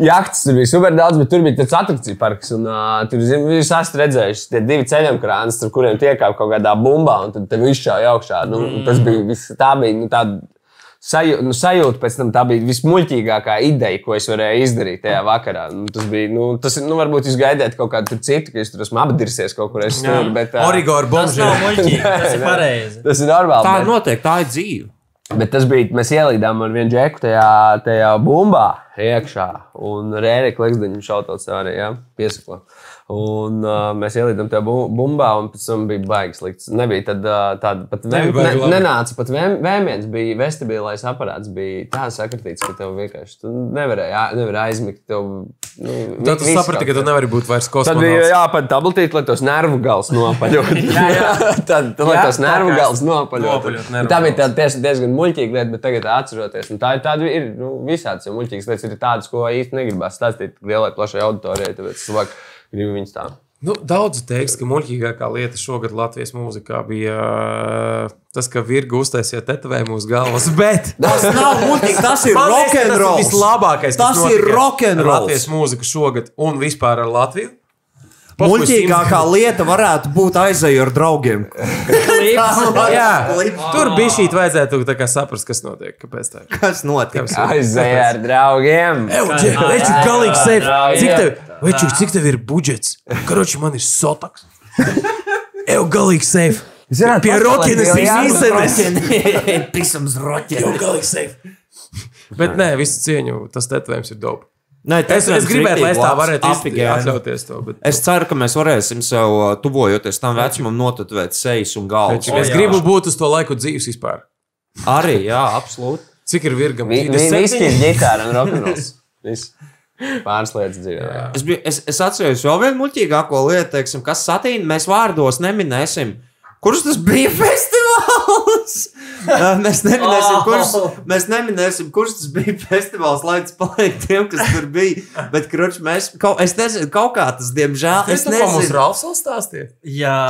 Speaker 5: Jahtas tur bija super daudz, bet tur bija tāds attrakciju parks. Un, uh, tur zin, jūs esat redzējuši, tie divi ceļiem krānas, tur kuriem tiekāp kaut kādā bumbā, un tad tev izšāva augšā. Nu, mm. Tas bija viss, tā bija nu, tāda. Sajūta, nu, sajūta pēc tam tā bija vismuļķīgākā ideja, ko es varēju izdarīt tajā vakarā. Nu, tas bija, nu, tas ir, nu, varbūt jūs gaidāt kaut kādu tur citu, ka es tur esmu apdirsies kaut kur. Es tur, bet, ā,
Speaker 4: Origo ar
Speaker 6: Tas nav
Speaker 4: bombu.
Speaker 6: muļķīgi. Tas ir pareizi.
Speaker 5: Tas ir normāli.
Speaker 3: Tā
Speaker 5: bet-
Speaker 3: notiek, tā ir dzīve.
Speaker 5: Bet tas bija, mēs ielīdām ar vienu džeku tajā, tajā bumbā iekšā. Un Rēriks Leksdeņš šautos arī, jā, piesakla. Un uh, mēs ielīdām tajā bu- bumbā, un pēc tam bija baigi slikts. Nebija tad, uh, tāda pat vēm,
Speaker 4: Nebija baigi
Speaker 5: ne,
Speaker 4: labi.
Speaker 5: nenāca pat vēm, vēmiens, bija vestibilais aparāts, bija tā sakritīts, ka tev vienkārši tu nevarēja, jā, nevarēja aizmigt. Tev, nu,
Speaker 4: Tad tu saprati, ka tu nevari būt vairs
Speaker 5: Tad bija
Speaker 4: kosmonauts.
Speaker 5: jāpat tabletīt, lai tos nervu gals nopaļot. jā, jā. Tad, tad, lai
Speaker 4: Jā,
Speaker 5: tos
Speaker 4: tā
Speaker 5: nervu
Speaker 4: kā
Speaker 5: gals nopaļot.
Speaker 4: nopaļot nervu
Speaker 5: Tā bija tāda diezgan, diezgan muļķīga lieta, bet tagad atceroties. un Tā ir tāda, ir nu, visādas jau muļķīgas lietas, ir tādas, ko īsti negribas stāstīt lielai plašai auditorijai, tāpēc cilvēki grib viņus tā.
Speaker 4: Nu, daudz teiks, ka muļķīgākā lieta šogad Latvijas mūzikā bija ā, tas, ka virga uztaisīja tetovējumu uz galvas. Bet
Speaker 3: Tas nav muļķīgi, tas ir
Speaker 4: Man liekas,
Speaker 3: rock
Speaker 4: ka
Speaker 3: and roll.
Speaker 4: Tas ir vislabākais.
Speaker 3: Tas ir rock and roll.
Speaker 4: Latvijas mūzika šogad un vispār ar Latviju.
Speaker 3: Muļķīgākā lieta varētu būt aizēju ar draugiem.
Speaker 4: Jā,
Speaker 3: Klips.
Speaker 4: tur bija šī tā, vajadzētu tā kā saprast, kas notiek. Kāpēc tā ir?
Speaker 3: Kas notiek?
Speaker 5: Aizēj ar draugiem!
Speaker 4: Veči, galīgi sevi!
Speaker 5: draugi,
Speaker 4: Cik
Speaker 5: jā.
Speaker 4: tev, veču, cik tev ir budžets? Karoči, man ir sotaks. Eju, galīgi sevi!
Speaker 5: Zināt,
Speaker 4: Pie rokienes ir
Speaker 5: pasaulē vēl jābūt
Speaker 4: izdevies!
Speaker 3: Pisams roķi.
Speaker 4: Eju, galīgi sevi! Bet nē, visu cieņu, tas tetovējums ir dope.
Speaker 3: Nē,
Speaker 4: Es, es gribētu, lai es tā varētu iztikt,
Speaker 3: apgādāt.
Speaker 4: atļauties to. Bet...
Speaker 3: Es ceru, ka mēs varēsim sev, uh, tuvojoties tam vecumam, notuvēt sejas un galvas.
Speaker 4: Es gribu būt uz to laiku dzīves vispār.
Speaker 3: Arī, jā, absolūti.
Speaker 4: Cik ir virgam?
Speaker 5: Vi- vi-
Speaker 4: 27?
Speaker 5: Viskijas ģitāra un rokenrols. Viss. Pāris lietas dzīvē.
Speaker 3: Es, biju, es, es atceros vēl vienu muļķīgāko lietu, teiksim, kas satīna. Mēs vārdos neminēsim, kurš tas bija festivāls. Ā, mēs, neminēsim, kurš, mēs neminēsim, kurš tas bija festivāls, lai tas paliek tiem, kas tur bija. Bet, kurš mēs, kaut, es nezinu, kaut kā tas, diemžēl, es
Speaker 4: Es nezinu, ko mums
Speaker 3: nezinu,
Speaker 4: Rāfs vēl stāstīja.
Speaker 6: Jā,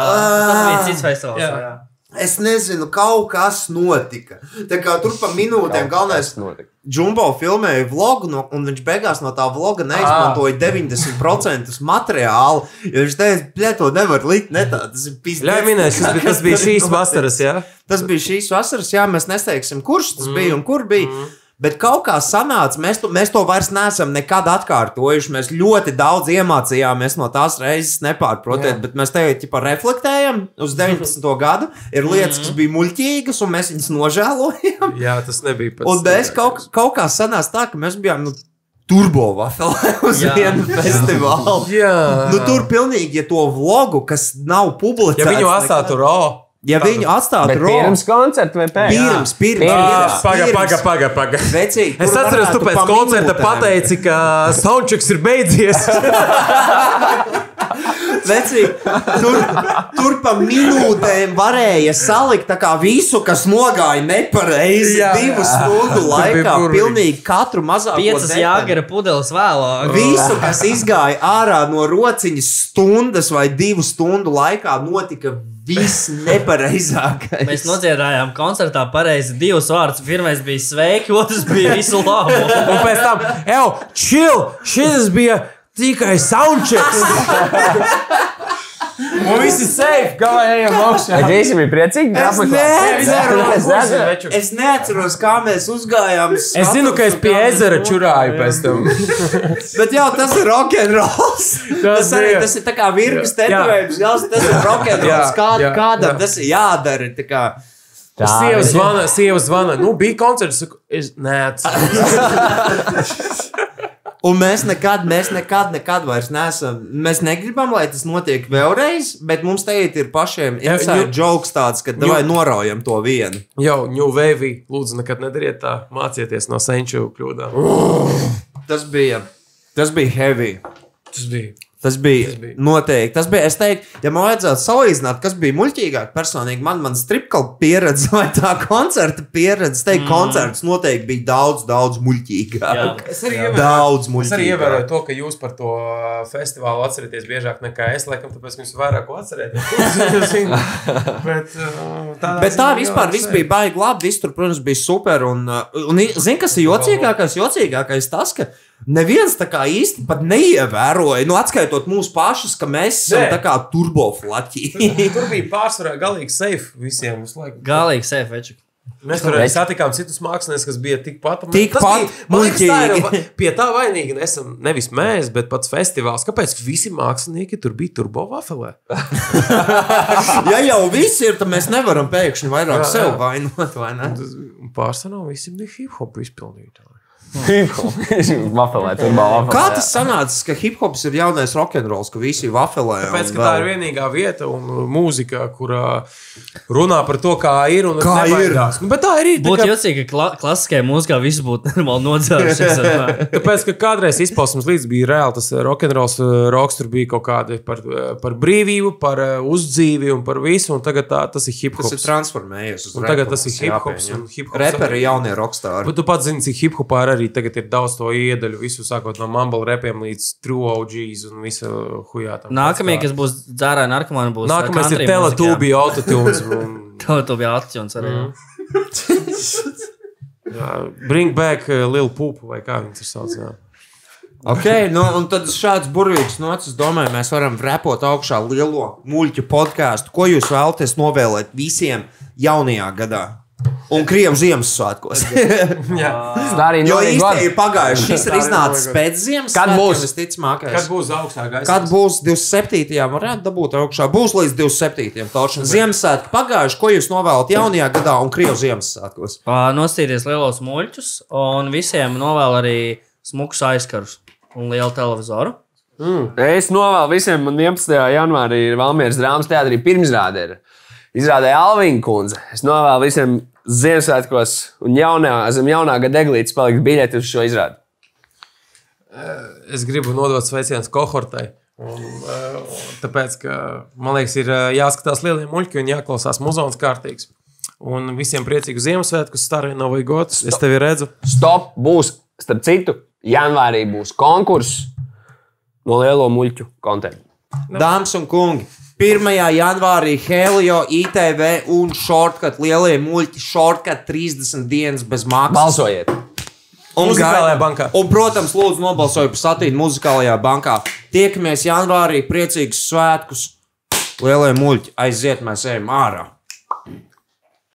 Speaker 6: tas bija cits festivāls.
Speaker 4: Jā.
Speaker 6: jā.
Speaker 3: es nezinu, kaut kas notika. Tā kā tur pa minūtēm galvenais
Speaker 5: notika.
Speaker 3: Džumbo filmēja vlogu, no, un viņš beigās no tā vloga
Speaker 4: Ah.
Speaker 3: neizmantoja 90% materiālu. Jo viņš teica, ka to nevar likt ne tā, tas ir pīzdēts.
Speaker 4: Jā, minēs, tas, bija- tas bija šīs vasaras, jā.
Speaker 3: Tas bija šīs vasaras, jā, mēs neteiksim, kurš tas mm. bija un kur bija. Mm. Bet kaut kā sanāca, mēs to, mēs to vairs neesam nekad atkārtojuši. Mēs ļoti daudz iemācījāmies no tās reizes, nepārprotiet, bet mēs tagad jau reflektējam uz 19. gadu. Ir lietas,
Speaker 4: Mm.
Speaker 3: kas bija muļķīgas, un mēs viņas nožēlojam.
Speaker 4: Jā, tas nebija pats.
Speaker 3: Un mēs kaut, kaut kā sanāca tā, ka mēs bijām nu, turbo vafelē uz jā,
Speaker 6: Jā.
Speaker 3: vienu festivālu.
Speaker 4: Jā,
Speaker 3: Nu, tur pilnīgi, ja to vlogu, kas nav publicēts,
Speaker 4: Ja viņu atstātu Rāfs.
Speaker 3: ja viņu atstātu
Speaker 5: Bet pirms koncerta vai pēc?
Speaker 3: Pirms, pirms,
Speaker 5: Pirms.
Speaker 3: pirms.
Speaker 4: Paga,
Speaker 3: Pirms.
Speaker 4: paga, paga, paga.
Speaker 3: Vecīgi,
Speaker 4: Es
Speaker 3: tur
Speaker 4: atceros, tu
Speaker 3: varētu
Speaker 4: pēc
Speaker 3: pa
Speaker 4: koncerta
Speaker 3: minūtēm.
Speaker 4: pateici, ka soundchecks ir beidzies.
Speaker 3: Vecīgi, tur, tur pa minūtēm varēja salikt tā kā visu, kas nogāja nepareizi
Speaker 4: Jā, jā.
Speaker 3: divu stundu
Speaker 4: bija
Speaker 3: laikā.
Speaker 4: burvīgi.
Speaker 3: Pilnīgi katru mazāko
Speaker 6: Piecas
Speaker 3: detaļu.
Speaker 6: jāgara pudeles vēlāk.
Speaker 3: Visu, kas izgāja ārā no rociņas stundas vai divu stundu laikā, notika viss nepareizākais.
Speaker 6: Mēs nodziedājām koncertā pareizi divus vārdus. Pirmais bija sveiki, otrs bija visu labu.
Speaker 4: Un pēc tam, ej, chill! Šis bija tikai soundchecks! Un viss ir safe, galā ejam augšā.
Speaker 5: Džeisam ir priecīgi.
Speaker 3: Es
Speaker 5: grāmatā?
Speaker 3: neceru,
Speaker 5: Es nezinu.
Speaker 3: Es neatceros, kā mēs uzgājām.
Speaker 4: Es zinu, ka es pie ezera čurāju pēc tam.
Speaker 3: Bet jā, tas ir rock'n'rolls. Tas,
Speaker 4: Tas
Speaker 3: arī
Speaker 4: ir.
Speaker 3: tas ir tā kā virknes
Speaker 4: Jā.
Speaker 3: tetovējums. Jā, tas ir rock'n'rolls.
Speaker 4: Jā,
Speaker 3: Kā,
Speaker 4: jā,
Speaker 3: kādam
Speaker 4: jā.
Speaker 3: tas ir jādara? tā kā.
Speaker 4: Sieva zvana, sieva zvana. Nu, bija koncerts, saku, es neatceros.
Speaker 3: Un mēs nekad, mēs nekad, nekad vairs neesam. Mēs negribam, lai tas notiek vēlreiz, bet mums te ir pašiem
Speaker 4: Jā,
Speaker 3: inside
Speaker 4: jo-
Speaker 3: joks tāds, ka vai noraujam to vienu.
Speaker 4: Jau, New Wave, lūdzu, nekad nedariet tā. Mācieties no senču kļūdām.
Speaker 3: Tas bija, tas bija heavy.
Speaker 4: Tas bija.
Speaker 3: Tas bija, tas
Speaker 4: bija.
Speaker 3: bija. noteikti. Tas bija, es teiktu, ja man vajadzētu salīdzināt, kas bija muļķīgāk personīgi, man, man stripkala pieredze vai tā koncerta pieredze, es teiktu, mm. koncerts noteikti bija daudz, daudz muļķīgāk.
Speaker 4: Es arī
Speaker 3: Jā.
Speaker 4: ievēroju-
Speaker 3: Daudz
Speaker 4: Es arī ievēroju
Speaker 3: muļķīgāk.
Speaker 4: to, ka jūs par to ā, festivālu atceraties biežāk nekā es, laikam, tāpēc, ka jums vairāk ko atcerēties. Es zinu. Bet, ā, tādā
Speaker 3: Bet tā
Speaker 4: ziņā, jā,
Speaker 3: vispār viss
Speaker 4: safe.
Speaker 3: bija baigi labi. Viss tur, protams, bija super. Un, uh, un zini, kas ir jocīgākais? Jocīgākais tas, ka neviens tā kā īsti pat neievēroja, nu, atskaitot mūsu pašus, ka mēs esam
Speaker 4: Nē.
Speaker 3: tā kā turboflaķi.
Speaker 4: Tur bija pārsvarā galīgi safe visiem. visu laiku.
Speaker 6: Galīgi, sevi veču.
Speaker 4: Mēs tur
Speaker 5: Bet-
Speaker 4: satikām citus māksliniekus, kas bija tikpat
Speaker 3: Tikpat muļķīgi.
Speaker 4: muļķīgi. Pie tā vainīgi nesam nevis mēs, bet pats festivāls. Kāpēc visi mākslinieki tur bija turbo vafelē?
Speaker 3: ja jau viss ir, tad mēs nevaram pēkšņi vairāk
Speaker 4: Jā,
Speaker 3: jā, sev
Speaker 4: jā.
Speaker 3: vainot. Vai ne?
Speaker 4: Pārsvarā visi bija hip hop izpildītāji.
Speaker 5: Vafelē, tur bija vafelē.
Speaker 3: Kā tas sanāca, ka hip hops ir jaunais rokenrols, ka visi ir vafelē? un
Speaker 4: Tāpēc, ka tā ir
Speaker 3: vēl?
Speaker 4: vienīgā vieta un mūzika, kurā runā par to, kā ir un
Speaker 3: Kā ir?
Speaker 4: nebaidās. Nu, bet tā ir
Speaker 6: Būtu
Speaker 4: īri.
Speaker 6: jocīgi, ka kla klasiskajā mūzikā viss būtu normāli nodzērušies.
Speaker 4: Tāpēc, ka kādreiz izpausmes līdz bija reāli tas uh, rokenrols, roks tur bija kaut kāda par, uh, par brīvību, par eh, uzdzīvi un par visu, un tagad tā, tas ir hip
Speaker 3: Tas ir
Speaker 4: hop.
Speaker 3: transformējies. uz
Speaker 4: Un tagad
Speaker 3: repu,
Speaker 4: tas ir
Speaker 3: kas
Speaker 4: hip-hops
Speaker 3: jāpieņem.
Speaker 4: un hip-hops
Speaker 3: Reperi
Speaker 4: arī-
Speaker 3: jaunie rokstāri.
Speaker 4: Bet tu pats zini, cik hip hopā ir arī tagad ir daudz to iedaļu, visu sākot no mumble repiem līdz true OGs un visu hujā. tam.
Speaker 6: Nākamie, kas būs dzērā narkomāni, būs uh,
Speaker 4: Nākamais ir teletūbi autotunes. un,
Speaker 6: Tev to bija atjūns arī.
Speaker 3: Mm.
Speaker 6: jā.
Speaker 4: jā, Bring back uh, Lil Poop vai kā viņš ir sauc. jā.
Speaker 3: Okay, nu, un tad šāds burvīgs nocis, domāju, mēs varam repot augšā lielo muļķu podkāstu. Ko jūs vēlaties novēlēt visiem jaunajā gadā? Un Krievijas Ziemassvētkos.
Speaker 5: Tā arī
Speaker 3: jo
Speaker 5: notiek
Speaker 3: īstenībā
Speaker 5: gadu.
Speaker 3: ir pagājuši. Šis ir iznācis pēc Ziemassvētkiem.
Speaker 5: būs?
Speaker 3: visticamākais?
Speaker 4: Kad būs augstā gaisa?
Speaker 3: Kad būs 27. varētu dabūt augšā. Būs līdz 27. taušana. Ziemassvētku pagājuši, ko jūs novēlat jaunajā gadā un Krievijas Ziemassvētkos.
Speaker 6: Ā, Nostīties lielos muļķus, un visiem novēlu arī smukus aizkarus un lielu televizoru.
Speaker 5: Es novēlu visiem, man 11. janvārī ir Valmieras drāmas teātrī pirmizrāde. ir. Izrādīja Alvīna kundze. Es novēlu visiem Ziemassvētkos un jaunā, zem jaunā gada eglītes palikt biļeti uz šo izrādi.
Speaker 4: es gribu nodot sveicienus kohortai. Un, eh, un tāpēc, ka man liekas, ir eh, jāskatās lielie muļķi un jāklausās muzons kārtīgs. Un visiem priecīgu Ziemassvētku, starē novai gods. Es tevi redzu.
Speaker 5: Stop būs, starp citu, janvārī būs konkurss no lielo muļķu kontekstu.
Speaker 3: Dāmas un kungi, 1. janvārī Helio, ITV un Shortcut lielie muļķi, Shortcut 30 dienas bez maksas.
Speaker 5: Balsojiet!
Speaker 3: Un
Speaker 4: Muzikālajā
Speaker 3: gaida-
Speaker 4: bankā.
Speaker 3: Un, protams, lūdzu nobalsoju par satīnu muzikālajā bankā. Tiekamies janvārī, priecīgus svētkus, lielie muļķi, aiziet mēs ejam ārā!